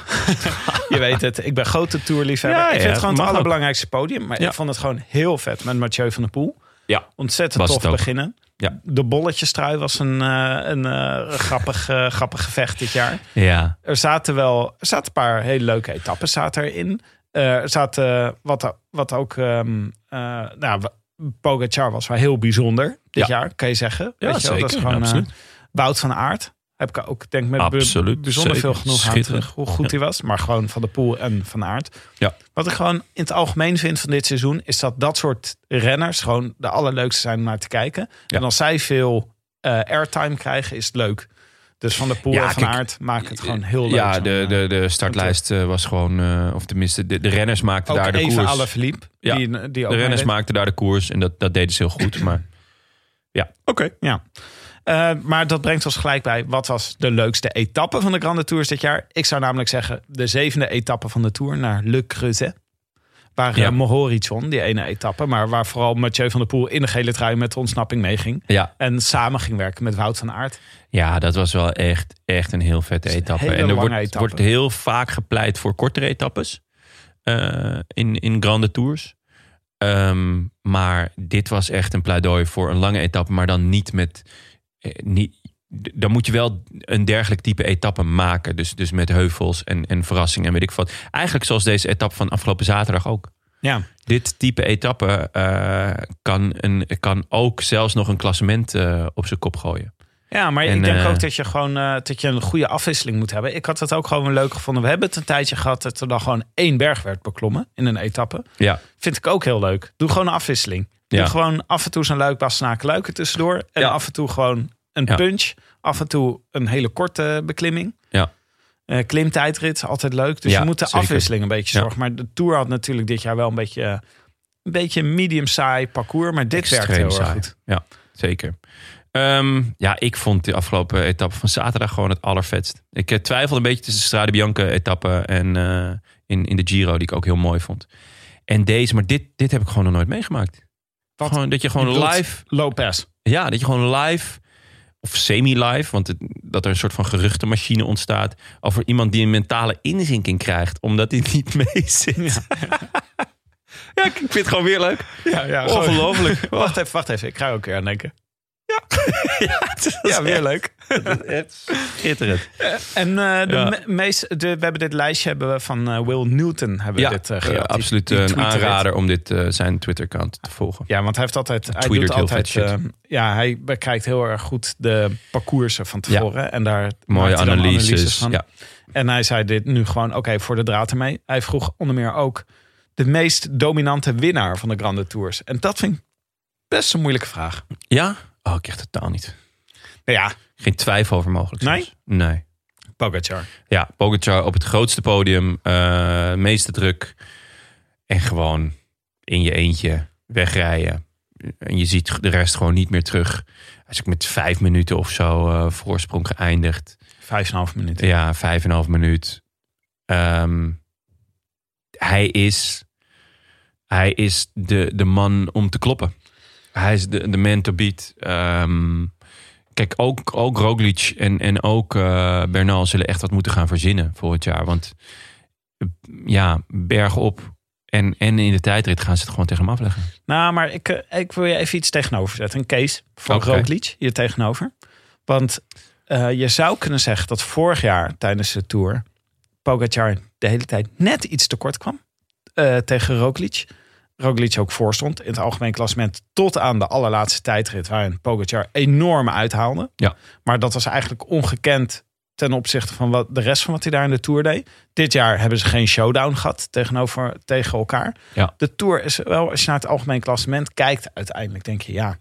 Je weet het, ik ben grote Tourliefhebber.
Ja,
ik vind
ja,
het gewoon
mag
het
ook.
allerbelangrijkste podium. Maar
Ja.
ik vond het gewoon heel vet met Mathieu van der Poel.
Ja.
Ontzettend
Was
tof
het ook.
beginnen.
Ja.
De bolletjestrui was een, eh, een eh, grappig, eh, grappig gevecht dit jaar.
Ja.
Er zaten wel er zaten een paar hele leuke etappes zaten erin. Eh, er zaten wat, wat ook... ehm eh nou, w- Pogacar was wel heel bijzonder dit
Ja.
jaar, kan je zeggen.
Ja,
Weet je wel, dat is
zeker,
gewoon, eh,
absoluut.
Wout van Aert. Heb ik ook, denk ik, met be-
Absoluut,
bijzonder
zeker.
veel genoeg aan
Schitterend.
terug. Hoe goed hij was. Maar gewoon van de Poel en van Aert.
Ja.
Wat ik gewoon in het algemeen vind van dit seizoen... is dat dat soort renners gewoon de allerleukste zijn om naar te kijken.
Ja.
En als zij veel eh, airtime krijgen, is het leuk. Dus van de Poel
Ja,
en van
kijk,
Aert maken het gewoon heel leuk.
Ja,
zo'n,
de,
eh,
de, de startlijst eh, was gewoon, eh, of tenminste, de, de renners maakten
Ook
daar de
even
koers.
alle verliep.
Ja,
Die, die ook
de renners
meedeed.
maakten daar de koers en dat, dat deden ze heel goed. Maar ja, oké.
Ja. Eh, maar dat brengt ons gelijk bij wat was de leukste etappe van de Grande Tours dit jaar. Ik zou namelijk zeggen de zevende etappe van de Tour naar Le Creuset. Waar
Ja.
ja. Horizon, die ene etappe, maar waar vooral Mathieu van der Poel in de gele trui met de ontsnapping meeging.
Ja.
En samen ging werken met Wout van Aert.
ja, dat was wel echt, echt een heel vette
is een
etappe.
hele
en er
lange
wordt,
etappe.
wordt heel vaak gepleit voor kortere etappes eh, in, in grande tours. Ehm, maar dit was echt een pleidooi voor een lange etappe, maar dan niet met... eh, niet, d- dan moet je wel een dergelijk type etappe maken. Dus, dus met heuvels en, en verrassingen en weet ik wat. Eigenlijk zoals deze etappe van afgelopen zaterdag ook.
Ja,
dit type etappe eh, kan, een, kan ook zelfs nog een klassement eh, op zijn kop gooien.
Ja, maar
En,
ik denk
eh,
ook dat je gewoon eh, dat je een goede afwisseling moet hebben. Ik had het ook gewoon leuk gevonden. We hebben het een tijdje gehad dat er dan gewoon één berg werd beklommen in een etappe.
Ja.
Vind ik ook heel leuk. Doe gewoon een afwisseling.
Ja.
Doe gewoon af en toe zo'n luik basnaken luiken tussendoor. En
Ja.
af en toe gewoon een
Ja.
punch. Af en toe een hele korte beklimming.
Ja.
Eh, klimtijdrit, altijd leuk. Dus
Ja,
je moet de
zeker.
afwisseling een beetje
Ja.
zorgen. Maar de Tour had natuurlijk dit jaar wel een beetje, eh, een beetje een medium saai parcours. Maar dit werkt heel erg
saai.
goed.
Ja, zeker. Ehm, ja, ik vond de afgelopen etappe van zaterdag gewoon het allervetst. Ik eh, twijfelde een beetje tussen de Strade Bianca etappe en eh, in, in de Giro, die ik ook heel mooi vond. En deze, maar dit, dit heb ik gewoon nog nooit meegemaakt.
Wat?
Gewoon, dat je gewoon
Je bedoelt-
live
Lopez.
ja, dat je gewoon live of semi-live, want het- dat er een soort van geruchtenmachine ontstaat over iemand die een mentale inzinking krijgt, omdat hij <laughs> niet mee zit. Ja, ik vind het gewoon weer leuk.
Ja, ja,
Ongelooflijk.
<laughs> Wacht even, wacht even. Ik ga er ook weer aan denken. <laughs>
Ja,
weer
leuk. Schitterend.
En eh, de
Ja.
me- meest, de, we hebben dit lijstje hebben we van eh, Will Newton. Hebben
Ja,
we dit, eh,
eh,
gejat. Die-
absoluut
die
een
tweette dit.
aanrader om dit, eh, zijn Twitter-account te volgen.
Ja, want hij heeft altijd. Hij
tweetert
doet
heel
altijd.
vet shit.
eh, ja, hij bekijkt heel erg goed de parcoursen van tevoren. En daar
Mooie
maakt hij dan
analyses.
van.
Ja.
En hij zei dit nu gewoon: oké, voor de draad ermee. Hij vroeg onder meer ook de meest dominante winnaar van de Grande Tours. En dat vind ik best een moeilijke vraag.
ja? Oh, ik kreeg totaal niet.
Nou ja,
Geen twijfel over mogelijk. zelfs. Nee.
Pogacar.
Ja, Pogacar op het grootste podium. eh, meeste druk. En gewoon in je eentje wegrijden. En je ziet de rest gewoon niet meer terug. Hij is ook met vijf minuten of zo eh, voorsprong geëindigd.
Vijf en een half minuten.
Ja, vijf en een half minuut. Ehm, hij is, hij is de, de man om te kloppen. Hij is de, de man to beat. Ehm, kijk, ook, ook Roglic en, en ook eh, Bernal zullen echt wat moeten gaan verzinnen volgend jaar. Want eh, ja, bergop en, en in de tijdrit gaan ze het gewoon tegen hem afleggen.
Nou, maar ik, eh, ik wil je even iets tegenover zetten. Een case van
Oké.
Roglic hier tegenover. Want eh, je zou kunnen zeggen dat vorig jaar tijdens de Tour... Pogacar de hele tijd net iets tekort kwam eh, tegen Roglic. Roglic ook voorstond in het algemeen klassement tot aan de allerlaatste tijdrit... waarin Pogacar enorm uithaalde.
Ja.
Maar dat was eigenlijk ongekend ten opzichte van wat, de rest van wat hij daar in de Tour deed. Dit jaar hebben ze geen showdown gehad tegenover, tegen elkaar.
Ja.
De Tour is wel, als je naar het algemeen klassement kijkt... uiteindelijk denk je, ja,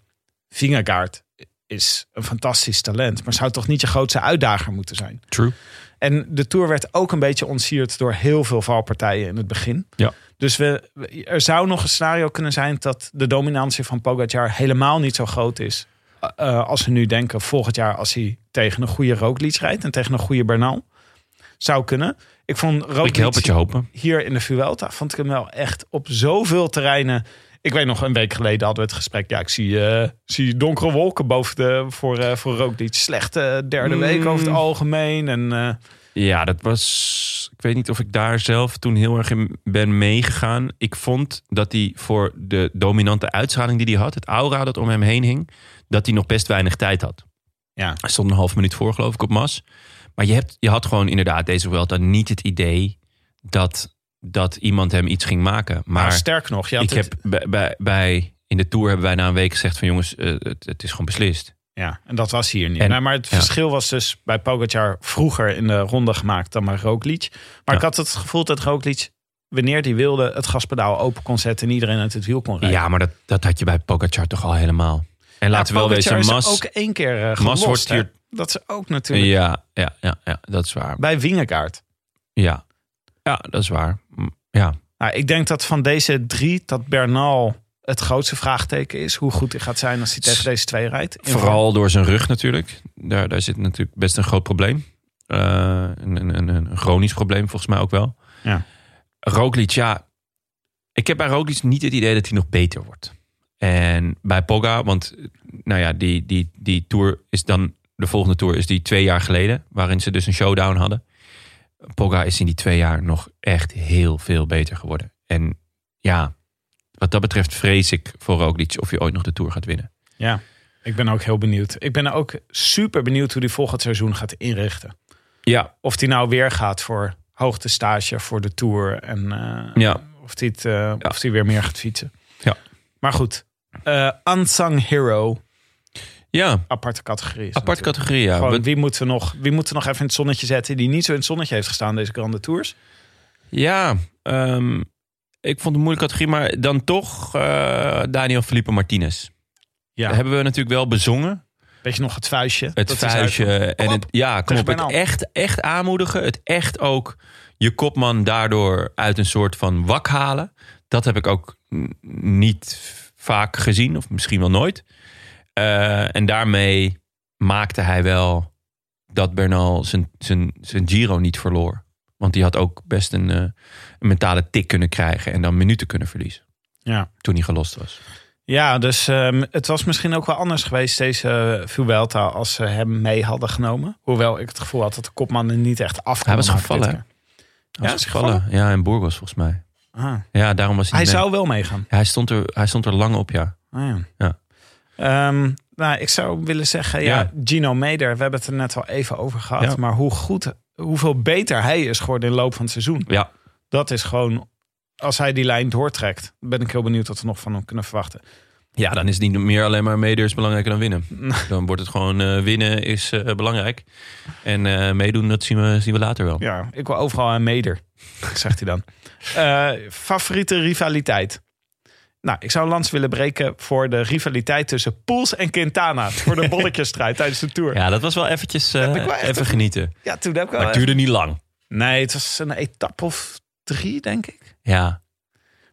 Vingegaard is een fantastisch talent... maar zou toch niet je grootste uitdager moeten zijn?
True.
En de Tour werd ook een beetje ontsierd door heel veel valpartijen in het begin.
Ja.
Dus we, we- er zou nog een scenario kunnen zijn dat de dominantie van Pogacar helemaal niet zo groot is. eh, als we nu denken, volgend jaar als hij tegen een goede Roglic rijdt en tegen een goede Bernal. Zou kunnen. Ik vond
Ik help het je
Roglic
hopen.
hier in de Vuelta, vond ik hem wel echt op zoveel terreinen. Ik weet nog, een week geleden hadden we het gesprek. Ja, ik zie, eh, zie donkere wolken boven de, voor, eh voor Roglic. Slechte eh, derde
Mm.
week over het algemeen. En eh,
Ja, dat was. Ik weet niet of ik daar zelf toen heel erg in ben meegegaan. Ik vond dat hij voor de dominante uitstraling die hij had, het aura dat om hem heen hing, dat hij nog best weinig tijd had.
Ja.
Hij stond een half minuut voor, geloof ik, op Mas. Maar je, hebt, je had gewoon inderdaad deze Vuelta niet het idee dat, dat iemand hem iets ging maken.
Maar
Maar
sterk nog, Nou, je had
ik
het-
heb bij, bij, bij- in de Tour hebben wij na een week gezegd van jongens, eh, het, het is gewoon beslist.
ja, en dat was hier niet.
En-
Nee, maar het
ja.
verschil was dus bij Pogacar vroeger in de ronde gemaakt dan bij Roglic. Maar
Ja.
ik had het gevoel dat Roglic, wanneer hij wilde, het gaspedaal open kon zetten en iedereen uit het wiel kon rijden.
Ja, maar dat, dat had je bij Pogacar toch al helemaal. En laten we wel
Pogacar
wezen,
is
Mas...
ook één keer eh,
Mas
gelost,
wordt
hè.
hier-
Dat is ook natuurlijk
Ja, ja, ja, ja, dat is waar.
bij Wingegaard.
Ja, ja dat is waar. M, Ja,
Nou, ik denk dat van deze drie, dat Bernal het grootste vraagteken is. Hoe goed hij gaat zijn als hij tegen deze twee rijdt. In
vooral door zijn rug natuurlijk. Daar, daar zit natuurlijk best een groot probleem. Eh, een, een, een, een chronisch probleem volgens mij ook wel.
Ja.
Roglic, ja. Ik heb bij Roglic niet het idee dat hij nog beter wordt. En bij Pogga, want nou ja, die, die, die tour is dan... De volgende tour is die twee jaar geleden, waarin ze dus een showdown hadden. Pogga is in die twee jaar nog echt heel veel beter geworden. En ja, wat dat betreft vrees ik voor Roglic of je ooit nog de tour gaat winnen.
Ja, ik ben ook heel benieuwd. Ik ben ook super benieuwd hoe hij volgend seizoen gaat inrichten.
Ja,
Of hij nou weer gaat voor hoogtestage, voor de Tour. En eh,
ja.
of hij het, eh, of hij weer meer gaat fietsen.
Ja.
Maar goed, eh unsung hero
Ja,
aparte categorie is.
aparte
natuurlijk.
categorie. Ja.
Gewoon,
Wat-
wie moeten we nog, wie moeten we nog even in het zonnetje zetten die niet zo in het zonnetje heeft gestaan deze Grande Tours?
ja ehm, ik vond het een moeilijke categorie, maar dan toch eh, Daniel Felipe Martinez.
Ja,
Dat hebben we natuurlijk wel bezongen.
weet je nog het vuistje?
Het
Dat is
vuistje
uit-
en het,
op.
ja, kom
Tegen
op, het
Bernal.
echt, echt aanmoedigen. Het echt ook je kopman daardoor uit een soort van wak halen. Dat heb ik ook n- niet vaak gezien, of misschien wel nooit. Eh, en daarmee maakte hij wel dat Bernal zijn, zijn, zijn Giro niet verloor. Want die had ook best een, eh, een mentale tik kunnen krijgen en dan minuten kunnen verliezen.
Ja.
Toen hij gelost was.
Ja, dus ehm, het was misschien ook wel anders geweest deze eh, Vuelta als ze hem mee hadden genomen. Hoewel ik het gevoel had dat de kopman er niet echt af kon
was
maken
gevallen,
dit
Hij
Ja,
was
is hij
gevallen. Ja, in Burgos volgens mij.
keer. Ah,
Ja, daarom was hij,
Hij
niet mee.
zou wel meegaan.
Ja, hij, stond er, hij stond er lang op, ja.
Ah, ja.
Ja.
Ehm, nou, ik zou willen zeggen, ja,
Ja.
Gino Meder, we hebben het er net al even over gehad.
Ja.
Maar hoe goed, hoeveel beter hij is geworden in de loop van het seizoen.
Ja.
Dat is gewoon, als hij die lijn doortrekt, ben ik heel benieuwd wat we nog van hem kunnen verwachten.
Ja, dan is het niet meer alleen maar meedoen is belangrijker dan winnen. <laughs>
Nou.
Dan wordt het gewoon eh, winnen is eh, belangrijk. En eh, meedoen, dat zien we, zien we later wel.
Ja, ik wil overal aan Meder, zegt hij dan. Eh, favoriete rivaliteit? Nou, ik zou een lans willen breken voor de rivaliteit tussen Poels en Quintana. Voor de
<laughs>
bolletjesstrijd tijdens de Tour. Ja,
Ja, dat was wel eventjes eh,
heb ik wel echt
even
een-
genieten.
toen heb ik wel...
Maar het duurde niet lang.
Nee, het was een etappe of drie, denk ik.
Ja,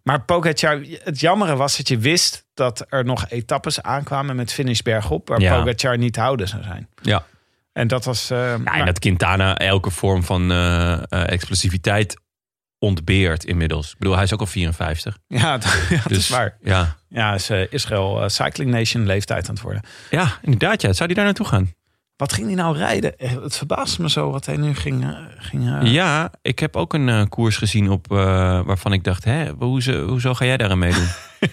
Maar Pogacar, het jammere was dat je wist dat er nog etappes aankwamen met finish bergop. Waar
Ja.
Pogacar niet te houden zou zijn.
ja.
En dat was... eh,
ja
maar-
Nou,
<laughs>
en dat Quintana elke vorm van eh, eh, explosiviteit ontbeert inmiddels. Ik bedoel, hij is ook al 54.
ja, dat, ja, dat
dus
is waar.
Ja.
Ja, is eh, Israël eh, Cycling Nation leeftijd aan het worden.
ja, inderdaad. Ja. Zou die daar naartoe gaan?
Wat ging hij nou rijden? Eh, Het verbaasde me zo wat hij nu ging... eh, ging eh,
Ja, ik heb ook een eh, koers gezien op, eh, waarvan ik dacht... Hè, hoezo, hoezo ga jij daar aan meedoen?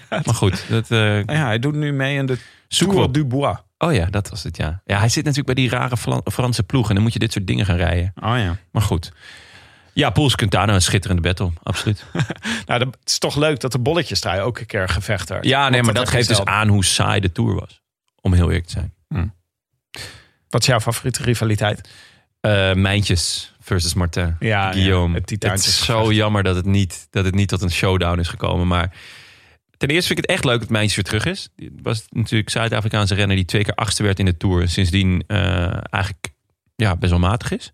maar goed, dat eh
ja, hij doet nu mee in de
zoeken we
Tour
op.
du Bois.
Oh ja, dat was het, ja. Ja, hij zit natuurlijk bij die rare Fla- Franse ploeg. En dan moet je dit soort dingen gaan rijden.
Oh ja.
Maar goed. Ja, Pools Quintana, een schitterende battle. Absoluut.
Nou, dat, het is toch leuk dat de bolletjesstrijd ook een keer een gevecht werd.
Ja, nee,
Want
maar dat
heb je
geeft dus
zelden.
aan hoe saai de Tour was. Om heel eerlijk te zijn.
Wat is jouw favoriete rivaliteit?
Eh, Mijntjes versus Martin.
Ja,
Guillaume.
ja, het Titaantjes
is zo
gevecht.
jammer dat het, niet, dat het niet tot een showdown is gekomen. Maar ten eerste vind ik het echt leuk dat Mijntjes weer terug is. Het was natuurlijk Zuid-Afrikaanse renner die twee keer achtste werd in de Tour. En sindsdien eh, eigenlijk ja, best wel matig is.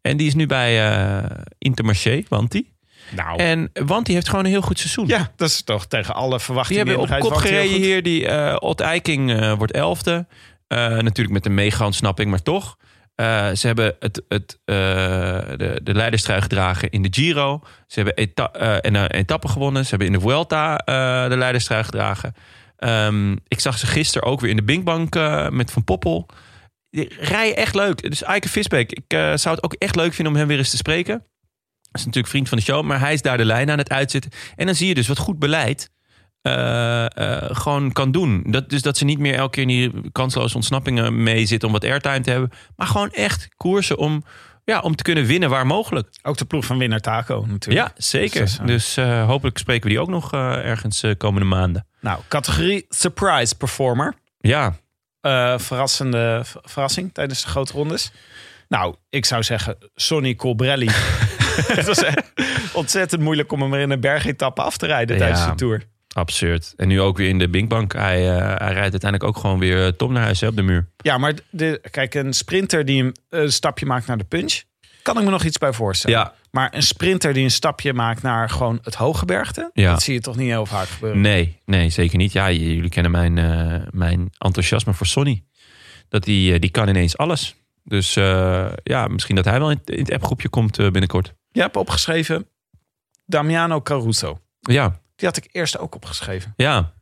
En die is nu bij eh, Intermarché, want die.
Nou,
En want die heeft gewoon een heel goed seizoen.
ja, dat is toch tegen alle
die
verwachtingen.
hebben op
in. Hij
kop
wacht heel
gereden
goed.
hier. Die eh Ot Eiking eh, wordt elfde. Eh, natuurlijk met een meegaandsnapping, maar toch. Eh, ze hebben het, het, eh, de, de leiderstrui gedragen in de Giro. Ze hebben eta eh, en, eh, etappe gewonnen. Ze hebben in de Vuelta eh, de leiderstrui gedragen. Ehm, ik zag ze gisteren ook weer in de Binkbank eh, met Van Poppel. Die rijden echt leuk. Dus Eike Visbeek, ik eh, zou het ook echt leuk vinden om hem weer eens te spreken. Hij is natuurlijk vriend van de show, maar hij is daar de lijn aan het uitzitten. En dan zie je dus wat goed beleid eh, eh, gewoon kan doen. Dat, dus dat ze niet meer elke keer in die kansloze ontsnappingen mee zitten om wat airtime te hebben. Maar gewoon echt koersen om, ja, om te kunnen winnen waar mogelijk.
Ook de ploeg van winnaar Taco natuurlijk.
Ja, zeker.
Dus
Dus,
dat is,
eh, hopelijk spreken we die ook nog eh, ergens eh, komende maanden.
Nou, categorie surprise performer.
Ja,
Eh, verrassende v- verrassing tijdens de grote rondes. Nou, ik zou zeggen Sonny
<laughs>
Colbrelli. <laughs> Het was echt ontzettend moeilijk om hem er in een bergetappe af te rijden
Ja.
tijdens de Tour.
absurd. En nu ook weer in de Binkbank. Hij, eh, hij rijdt uiteindelijk ook gewoon weer eh, Tom naar huis hè, op de muur.
Ja, maar de, kijk, een sprinter die een, een stapje maakt naar de punch... kan ik me nog iets bij voorstellen.
Ja.
Maar een sprinter die een stapje maakt naar gewoon het hooggebergte...
Ja.
dat zie je toch niet heel vaak gebeuren.
Nee, nee, zeker niet. Ja, j- jullie kennen mijn, eh, mijn enthousiasme voor Sonny. Dat die, eh, die kan ineens alles. Dus eh, ja, misschien dat hij wel in, het- in het appgroepje komt eh, binnenkort.
Je hebt opgeschreven Damiano Caruso.
Ja,
Die had ik eerst ook opgeschreven.
ja,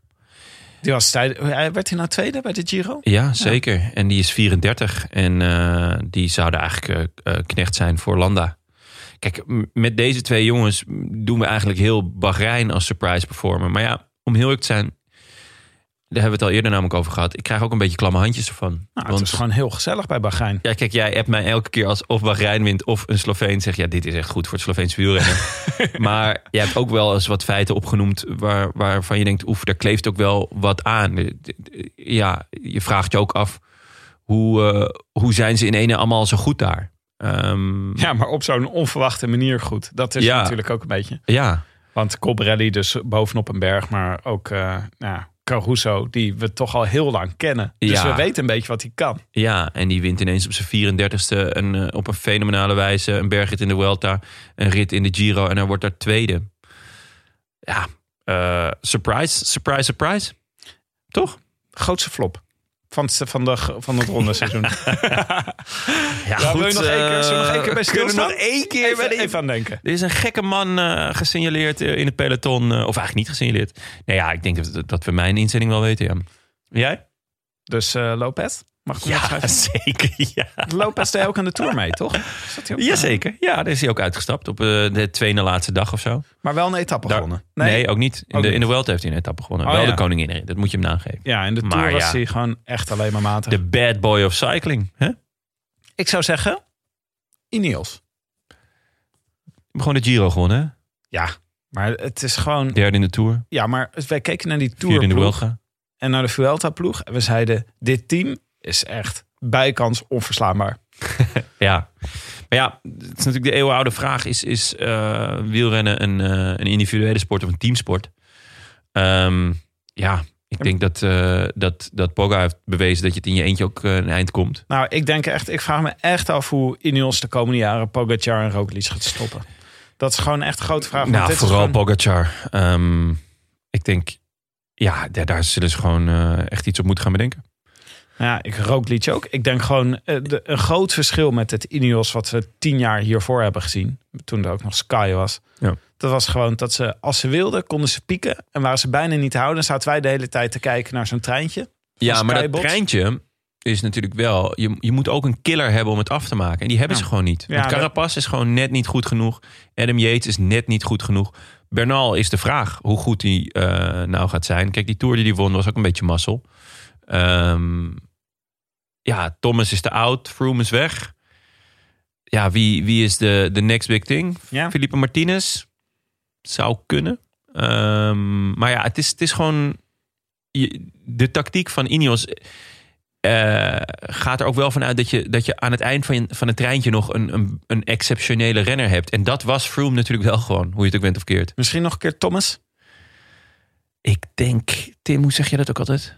Die was tijd, hij- werd hij nou tweede bij de Giro?
ja, zeker. En die is 34 en eh, die zouden eigenlijk eh, eh, knecht zijn voor Landa. Kijk, m- met deze twee jongens doen we eigenlijk heel Bahrein als surprise performer. Maar ja, om heel eerlijk te zijn, daar hebben we het al eerder namelijk over gehad. Ik krijg ook een beetje klamme handjes ervan.
Nou,
Want-
het is gewoon heel gezellig bij Bahrein.
Ja, kijk, jij appt mij elke keer als of Bahrein wint of een Sloveen zegt... ja, dit is echt goed voor het Sloveense wielrennen. maar jij hebt ook wel eens wat feiten opgenoemd... Waar, waarvan je denkt, oef, daar kleeft ook wel wat aan. De- de- de- Ja, je vraagt je ook af... hoe, eh, hoe zijn ze in ene allemaal zo goed daar? Ehm, ja.
<laughs> Ja, maar op zo'n onverwachte manier goed. Dat is
Ja.
natuurlijk ook een beetje. Want Colbrelli dus bovenop een berg, maar ook eh, nou, ja, Caruso, die we toch al heel lang kennen. Dus
Ja.
we weten een beetje wat hij kan.
Ja, en die wint ineens op zijn 34ste een, eh, op een fenomenale wijze. Een bergrit in de Vuelta, een rit in de Giro en hij wordt daar tweede. Ja, eh, surprise, surprise, surprise. Toch?
Grootste flop van, het- van, de, van het ronde <laughs> seizoen.
Ja,
wil je nog één keer- zullen we nog één keer bij
eh, kunnen we
stilstaan?
nog één keer bij
even,
de-
even aan denken.
Er is een gekke man eh, gesignaleerd eh, in het peloton. eh, of eigenlijk niet gesignaleerd. Nou ja, ik denk dat- dat, dat we mijn inzending wel weten, ja. Jij?
Dus eh, Lopez, mag ik hem
Ja,
opschrijven?
zeker, <laughs> ja.
Lopez deed ook aan de Tour mee, toch? Zat hij ook-
Jazeker. Ja, daar is hij ook uitgestapt op eh, de tweede laatste dag of zo.
Maar wel een etappe
Daar-
gewonnen.
Nee, ook niet. In,
Ook
de,
niet.
in de Welt heeft hij een etappe gewonnen.
Oh,
Wel
ja.
de koningin. Dat moet je hem nageven.
Ja, in de
Maar
Tour was
ja.
hij gewoon echt alleen maar matig.
De bad boy of cycling. Hè?
Ik zou zeggen, Ineos.
Gewoon de Giro gewonnen. hè?
Ja, maar het is gewoon...
Derde in de Tour.
Ja, maar wij keken naar die
Vierde in de
Tourploeg
Welga.
en naar de Vuelta-ploeg. En we zeiden, dit team is echt bijkans onverslaanbaar.
Ja. Maar ja, het is natuurlijk de eeuwenoude vraag. Is, is eh, wielrennen een, eh, een individuele sport of een teamsport? Ehm, ja, ik denk dat, eh dat, dat Pogga heeft bewezen dat je het in je eentje ook eh, een eind komt.
Nou, ik denk echt, ik vraag me echt af hoe Ineos de komende jaren Pogacar en Roglic gaat stoppen. Dat is gewoon echt een grote vraag. want
nou,
dit is
vooral
gewoon-
Pogacar. Ehm, ik denk, ja, daar, daar zullen ze gewoon eh, echt iets op moeten gaan bedenken.
Ja, ik Roglic ook. Ik denk gewoon eh, de- een groot verschil met het Ineos wat we tien jaar hiervoor hebben gezien. Toen er ook nog Sky was.
Ja.
Dat was gewoon dat ze, als ze wilden, konden ze pieken. En waren ze bijna niet te houden. Dan zaten wij de hele tijd te kijken naar zo'n treintje.
Ja,
Van
maar dat
Skybox.
treintje is natuurlijk wel... Je, je moet ook een killer hebben om het af te maken. En die hebben
Ja.
ze gewoon niet.
Ja,
Want
dat-
Carapaz is gewoon net niet goed genoeg. Adam Yates is net niet goed genoeg. Bernal is de vraag hoe goed hij eh, nou gaat zijn. Kijk, die Tour die hij won was ook een beetje mazzel. Ehm, ja, Thomas is te oud. Froome is weg. Ja, wie, wie is de, de next big thing?
Ja.
Felipe Martinez? Zou kunnen. Ehm, maar ja, het is, het is gewoon... je- de tactiek van Ineos eh, gaat er ook wel vanuit dat je, dat je aan het eind van, je- van het treintje nog een, een, een exceptionele renner hebt. En dat was Froome natuurlijk wel gewoon, hoe je het ook bent of keert.
Misschien nog een keer Thomas.
Ik denk, Tim, hoe zeg je dat ook altijd?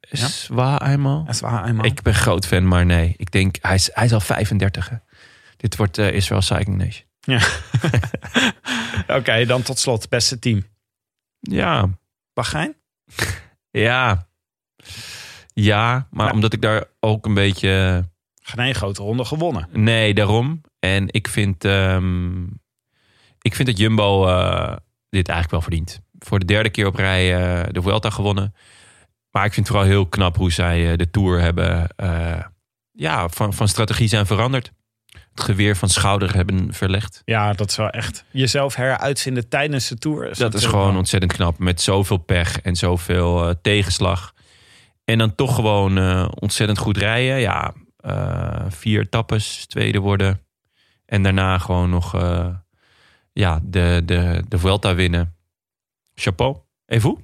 Ja.
Zwaar eenmaal.
Dat is waar, eenmaal.
Ik ben groot fan, maar nee. Ik denk, hij is, hij is al 35. Hè. Dit wordt eh, Israel Cycling Nation.
<laughs> Oké, dan tot slot. Beste team.
Ja,
Bahrein?
ja. Ja, maar
Ja.
omdat ik daar ook een beetje... eh,
Geen grote ronde gewonnen.
Nee, daarom. En ik vind, ehm, ik vind dat Jumbo eh, dit eigenlijk wel verdient. Voor de derde keer op rij eh, de Vuelta gewonnen. Maar ik vind het vooral heel knap hoe zij eh, de Tour hebben... eh, ja, van, van strategie zijn veranderd. Het geweer van schouder hebben verlegd.
Ja, dat is wel echt. Jezelf heruitvinden tijdens de Tour.
Dat is
natuurlijk
gewoon
wel-
ontzettend knap. Met zoveel pech en zoveel eh, tegenslag. En dan toch gewoon eh, ontzettend goed rijden. Ja, eh, vier tappes, tweede worden. En daarna gewoon nog eh, ja, de, de, de Vuelta winnen. Chapeau. Even hoe?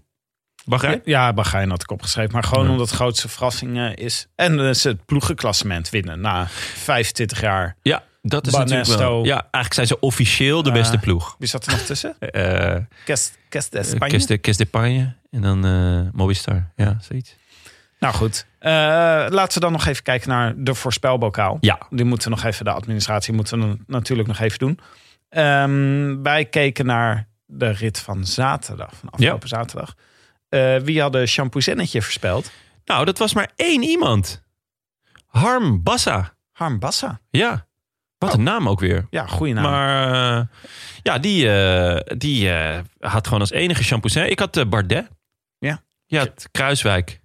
Bahrein?
Ja, Bahrein had ik opgeschreven. Maar gewoon
Ja.
omdat het grootste verrassing eh, is. En eh, ze het ploegenklassement winnen na 25 jaar.
Ja, dat is natuurlijk wel...
Banesto.
Ja, eigenlijk zijn ze officieel de beste
Eh,
ploeg.
Wie zat er nog
<laughs>
tussen? Eh,
Eh
Kest, Kest de Spanje?
Kes de, Kes de Pagne en dan eh Movistar. Ja, zoiets.
Nou goed, Eh, laten we dan nog even kijken naar de voorspelbokaal.
Ja,
Die moeten we nog even, de administratie moeten we natuurlijk nog even doen. Ehm, wij keken naar de rit van zaterdag, van afgelopen zaterdag. Eh, wie had de shampoozennetje voorspeld?
Nou, dat was maar één iemand. Harm Bassa.
Harm Bassa.
Ja. Wat een naam ook weer.
Ja, goeie Oh. naam.
Maar eh, ja, die, eh, die eh, had gewoon als enige shampoos. Ik had eh, Bardet.
Ja.
Je had Kruiswijk.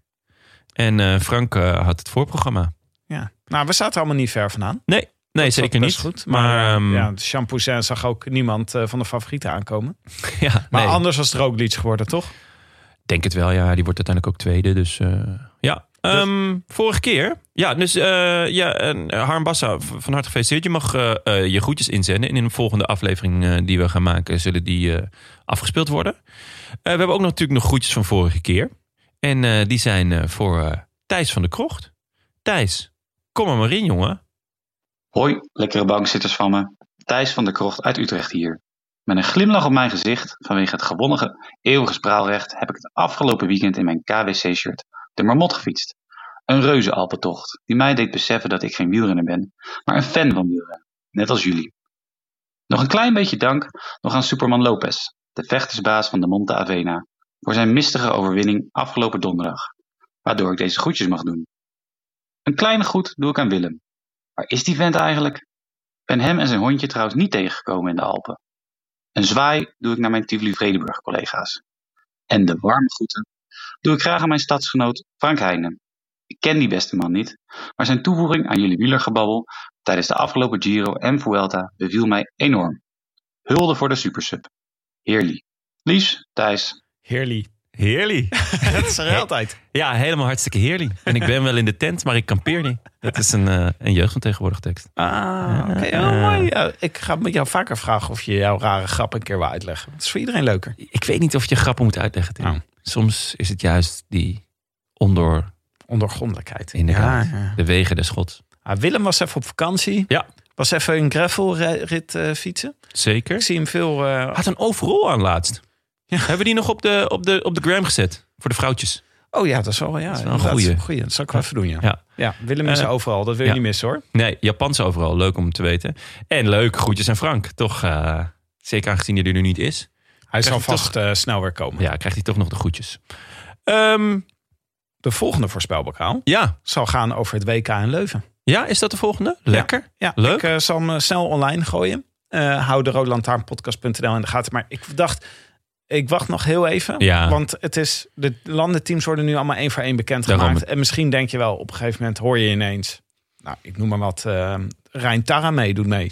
En eh, Frank eh, had het voorprogramma.
Ja. Nou, we zaten allemaal niet ver vandaan.
Nee, zeker
Dat zat
niet.
best goed.
maar
Maar, eh,
ehm,
ja,
<laughs> ja,
de shampoozin zag ook niemand eh, van de favorieten aankomen. Maar
nee. <laughs>
anders was het Roglic geworden, toch?
denk het wel, ja. Die wordt uiteindelijk ook tweede. Dus eh, ja. Ehm, vorige keer. Ja, dus eh, ja, en eh, Harm Bassa, v- van harte gefeliciteerd. Je mag eh, eh, je groetjes inzenden. En in een volgende aflevering eh, die we gaan maken, zullen die eh, afgespeeld worden. Eh, we hebben ook nog, natuurlijk nog groetjes van vorige keer. En eh, die zijn eh, voor eh, Thijs van de Krocht. Thijs, kom er maar in, jongen.
Hoi, lekkere bankzitters van me. Thijs van der Krocht uit Utrecht hier. Met een glimlach op mijn gezicht vanwege het gewonnige eeuwige spraalrecht heb ik het afgelopen weekend in mijn KWC-shirt de Marmot gefietst. Een reuzenalpentocht die mij deed beseffen dat ik geen wielrenner ben, maar een fan van wielrennen, net als jullie. Nog een klein beetje dank nog aan Superman Lopez, de vechtersbaas van de Monte Avena, voor zijn mistige overwinning afgelopen donderdag, waardoor ik deze groetjes mag doen. Een kleine groet doe ik aan Willem. Waar is die vent eigenlijk? Ik ben hem en zijn hondje trouwens niet tegengekomen in de Alpen. Een zwaai doe ik naar mijn Tivoli Vredenburg collega's. En de warme groeten doe ik graag aan mijn stadsgenoot Frank Heijnen. Ik ken die beste man niet, maar zijn toevoeging aan jullie wielergebabbel tijdens de afgelopen Giro en Vuelta beviel mij enorm. Hulde voor de supersub. Heerlijk. Lies, Thijs.
Heerly.
Heerlijk.
Het is er altijd.
Ja, helemaal hartstikke heerlijk. En ik ben wel in de tent, maar ik kampeer niet. Dat is een, eh, een jeugd van tegenwoordig tekst.
Ah, oké.
eh,
Oh, mooi. Ja, ik ga met jou vaker vragen of je jouw rare grap een keer wil uitleggen. Dat is voor iedereen leuker.
Ik weet niet of je grappen moet uitleggen, Tim.
Oh.
Soms is het juist die ondoor
Ondergrondelijkheid.
Inderdaad.
Ja, ja.
de wegen des gods.
Ah, Willem was even op vakantie.
Ja.
Was even een gravelrit eh fietsen. Ik
Zeker.
zie hem veel... eh,
Had een overal aan laatst.
Ja.
Hebben we die nog op de, op, de, op de gram gezet? Voor de vrouwtjes.
oh ja, dat is wel, ja,
is wel een
inderdaad,
goeie.
goeie. Dat zal ik wel even doen, ja.
Ja.
Ja, Willem is
Eh,
er overal. Dat wil je
ja.
niet missen, hoor.
Nee, Japans overal. Leuk om te weten. En leuk, groetjes aan Frank. Toch, eh, zeker aangezien hij er nu niet is.
Hij zal
Krijgt hij
vast eh, snel weer komen.
Ja, krijgt hij toch nog de groetjes. Ehm,
De volgende voorspelbokaal
ja.
zal gaan over het WK in Leuven.
ja, is dat de volgende? Lekker.
Ja,
Leuk.
ik eh, zal hem eh, snel online gooien. Eh, hou de roodlantaarnpodcast.nl in de gaten. Maar ik dacht, ik wacht nog heel even.
Ja.
Want het is, de landenteams worden nu allemaal één voor één bekendgemaakt.
Daarom.
En misschien denk je wel, op een gegeven moment hoor je ineens... Nou, ik noem maar wat, eh, Rijn Taramee doet
<laughs>
mee.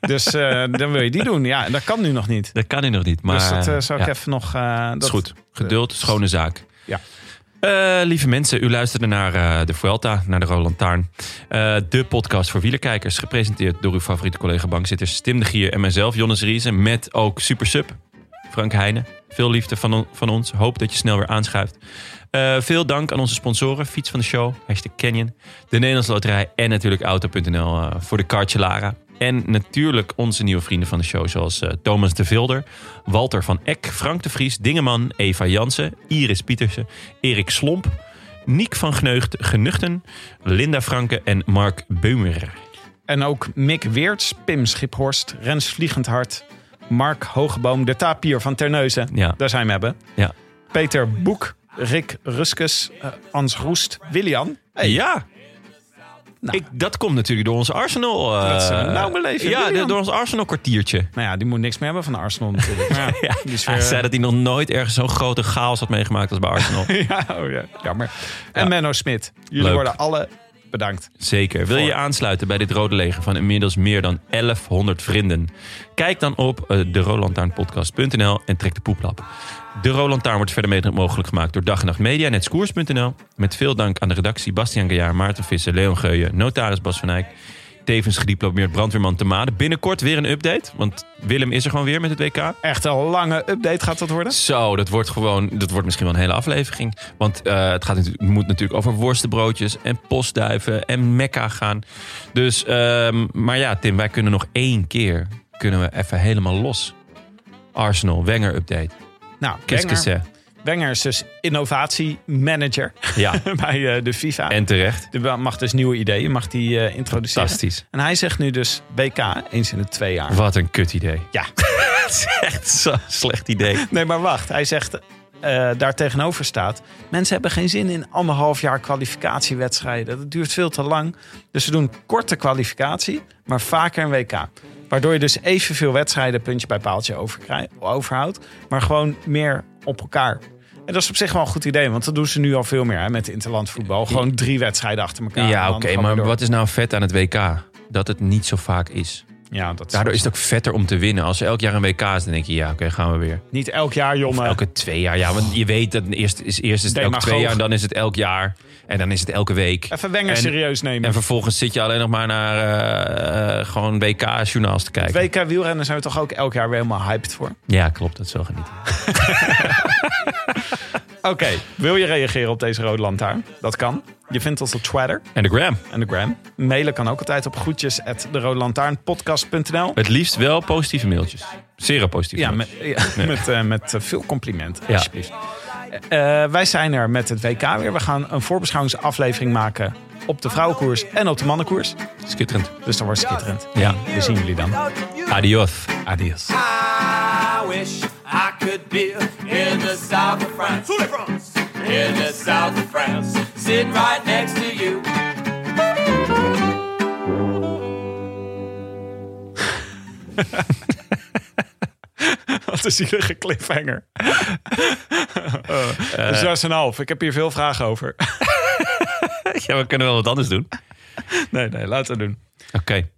dus eh, dan wil je die doen. Ja, en dat kan nu nog niet.
Dat kan hij nog niet. Maar,
dus dat eh, zou ik
ja.
even nog... eh, dat
Dat is goed. Geduld, schone zaak.
Ja.
Eh, lieve mensen, u luisterde naar eh, de Vuelta, naar de Roland Taarn. Eh, de podcast voor wielerkijkers, gepresenteerd door uw favoriete collega bankzitters Tim de Gier en mijzelf, Jonas Riesen, met ook Super Sub, Frank Heijnen. Veel liefde van, on- van ons. Hoop dat je snel weer aanschuift. Eh, veel dank aan onze sponsoren, Fiets van de Show, hashtag Canyon, de Nederlands Loterij en natuurlijk Auto.nl eh, voor de kaartje Lara. En natuurlijk onze nieuwe vrienden van de show, zoals eh, Thomas de Vilder, Walter van Eck, Frank de Vries, Dingeman, Eva Jansen, Iris Pietersen, Erik Slomp, Niek van Gneugd, Genuchten, Linda Franke en Mark Beumer.
En ook Mick Weerts, Pim Schiphorst, Rens Vliegendhart, Mark Hogeboom, de tapier van Terneuzen.
Ja.
Daar zijn we hebben.
Ja.
Peter Boek, Rick Ruskes, eh, Hans Roest, Willian.
Ja. Ik, dat komt natuurlijk door ons Arsenal. eh,
Nou. Dat is nou, een nauw beleven,
Ja,
William.
door ons Arsenal kwartiertje.
Nou ja, die moet niks meer hebben van Arsenal natuurlijk.
<laughs>
Maar ja, die is weer- eh,
Hij zei dat hij nog nooit ergens zo'n grote chaos had meegemaakt als bij Arsenal.
<laughs> ja, oh ja, jammer. En Menno Smit. Jullie
Leuk.
worden alle
<laughs>
bedankt.
Zeker. Wil je je aansluiten bij dit Rode Leger van inmiddels meer dan 1100 vrienden? Kijk dan op eh, deroodlantaarnpodcast.nl en trek de poeplap. De Rolantaarn wordt verder mede mogelijk gemaakt door Dag en Nacht Media en Hetskoers.nl. Met veel dank aan de redactie Bastiaan Gajaar, Maarten Visser, Leon Geuyen, notaris Bas van Eyck. Tevens gediplomeerd brandweerman te Maden. Binnenkort weer een update, want Willem is er gewoon weer met het WK.
Echt een lange update gaat dat worden.
Zo, dat wordt gewoon, dat wordt misschien wel een hele aflevering. Want eh, het gaat natuurlijk, moet natuurlijk over worstenbroodjes en postduiven en mekka gaan. Dus, ehm, maar ja, Tim, wij kunnen nog één keer, kunnen we even helemaal los. Arsenal, Wenger update.
Nou, Wenger,
Kiskesse.
Wenger is dus innovatiemanager <laughs>
<laughs> Ja,
bij eh, de FIFA.
en terecht.
Die mag dus nieuwe ideeën mag die, eh, introduceren.
Fantastisch.
En hij zegt nu dus WK eens in de twee jaar.
Wat een kut <laughs> idee.
Ja.
Het is echt zo'n slecht idee.
Nee, maar wacht. Hij zegt eh daar tegenover staat... mensen hebben geen zin in anderhalf jaar kwalificatiewedstrijden. Dat duurt veel te lang. Dus ze doen korte kwalificatie, maar vaker een WK. Waardoor je dus evenveel wedstrijden puntje bij paaltje overkrij- overhoudt... maar gewoon meer op elkaar. En dat is op zich wel een goed idee, want dat doen ze nu al veel meer hè, met interland voetbal. Gewoon drie wedstrijden achter elkaar.
Ja,
en
oké,
dan gewoon
maar
door.
wat is nou vet aan het WK? Dat het niet zo vaak is.
Ja, dat
Daardoor is het ook vetter om te winnen. Als er elk jaar een WK is, dan denk je, ja, oké, gaan we weer.
niet elk jaar,
Of
jongen.
elke twee jaar. Ja, want je weet dat eerst is, eerst is het elke
Demagoog.
twee jaar, en dan is het elk jaar. En dan is het elke week.
Even Wenger
En-
serieus nemen.
En vervolgens zit je alleen nog maar naar eh, eh, gewoon WK-journaals te kijken.
WK wielrennen zijn we toch ook elk jaar weer helemaal hyped voor.
Ja, klopt. Dat is wel genieten.
Oké, wil je reageren op deze rode lantaarn? Dat kan. Je vindt ons op Twitter
En de gram.
en de gram. Mailen kan ook altijd op groetjes at derodelantaarnpodcast.nl.
Het liefst wel positieve mailtjes. Zeer positieve
Ja, met,
mailtjes.
ja, <laughs> met, eh, met eh, veel complimenten,
Ja.
alsjeblieft. Eh, wij zijn er met het WK weer. We gaan een voorbeschouwingsaflevering maken op de vrouwenkoers en op de mannenkoers.
Schitterend.
Dus dan wordt het schitterend.
Ja.
We zien jullie dan.
Adios. <laughs> Adios.
I wish I could be in the south of France. In the south of France. Sitting right next to you.
Wat een zielige cliffhanger. Eh, Zes en een half. Ik heb hier veel vragen over. <laughs>
Ja, we kunnen wel wat anders doen.
Nee, nee, laten we doen.
Oké.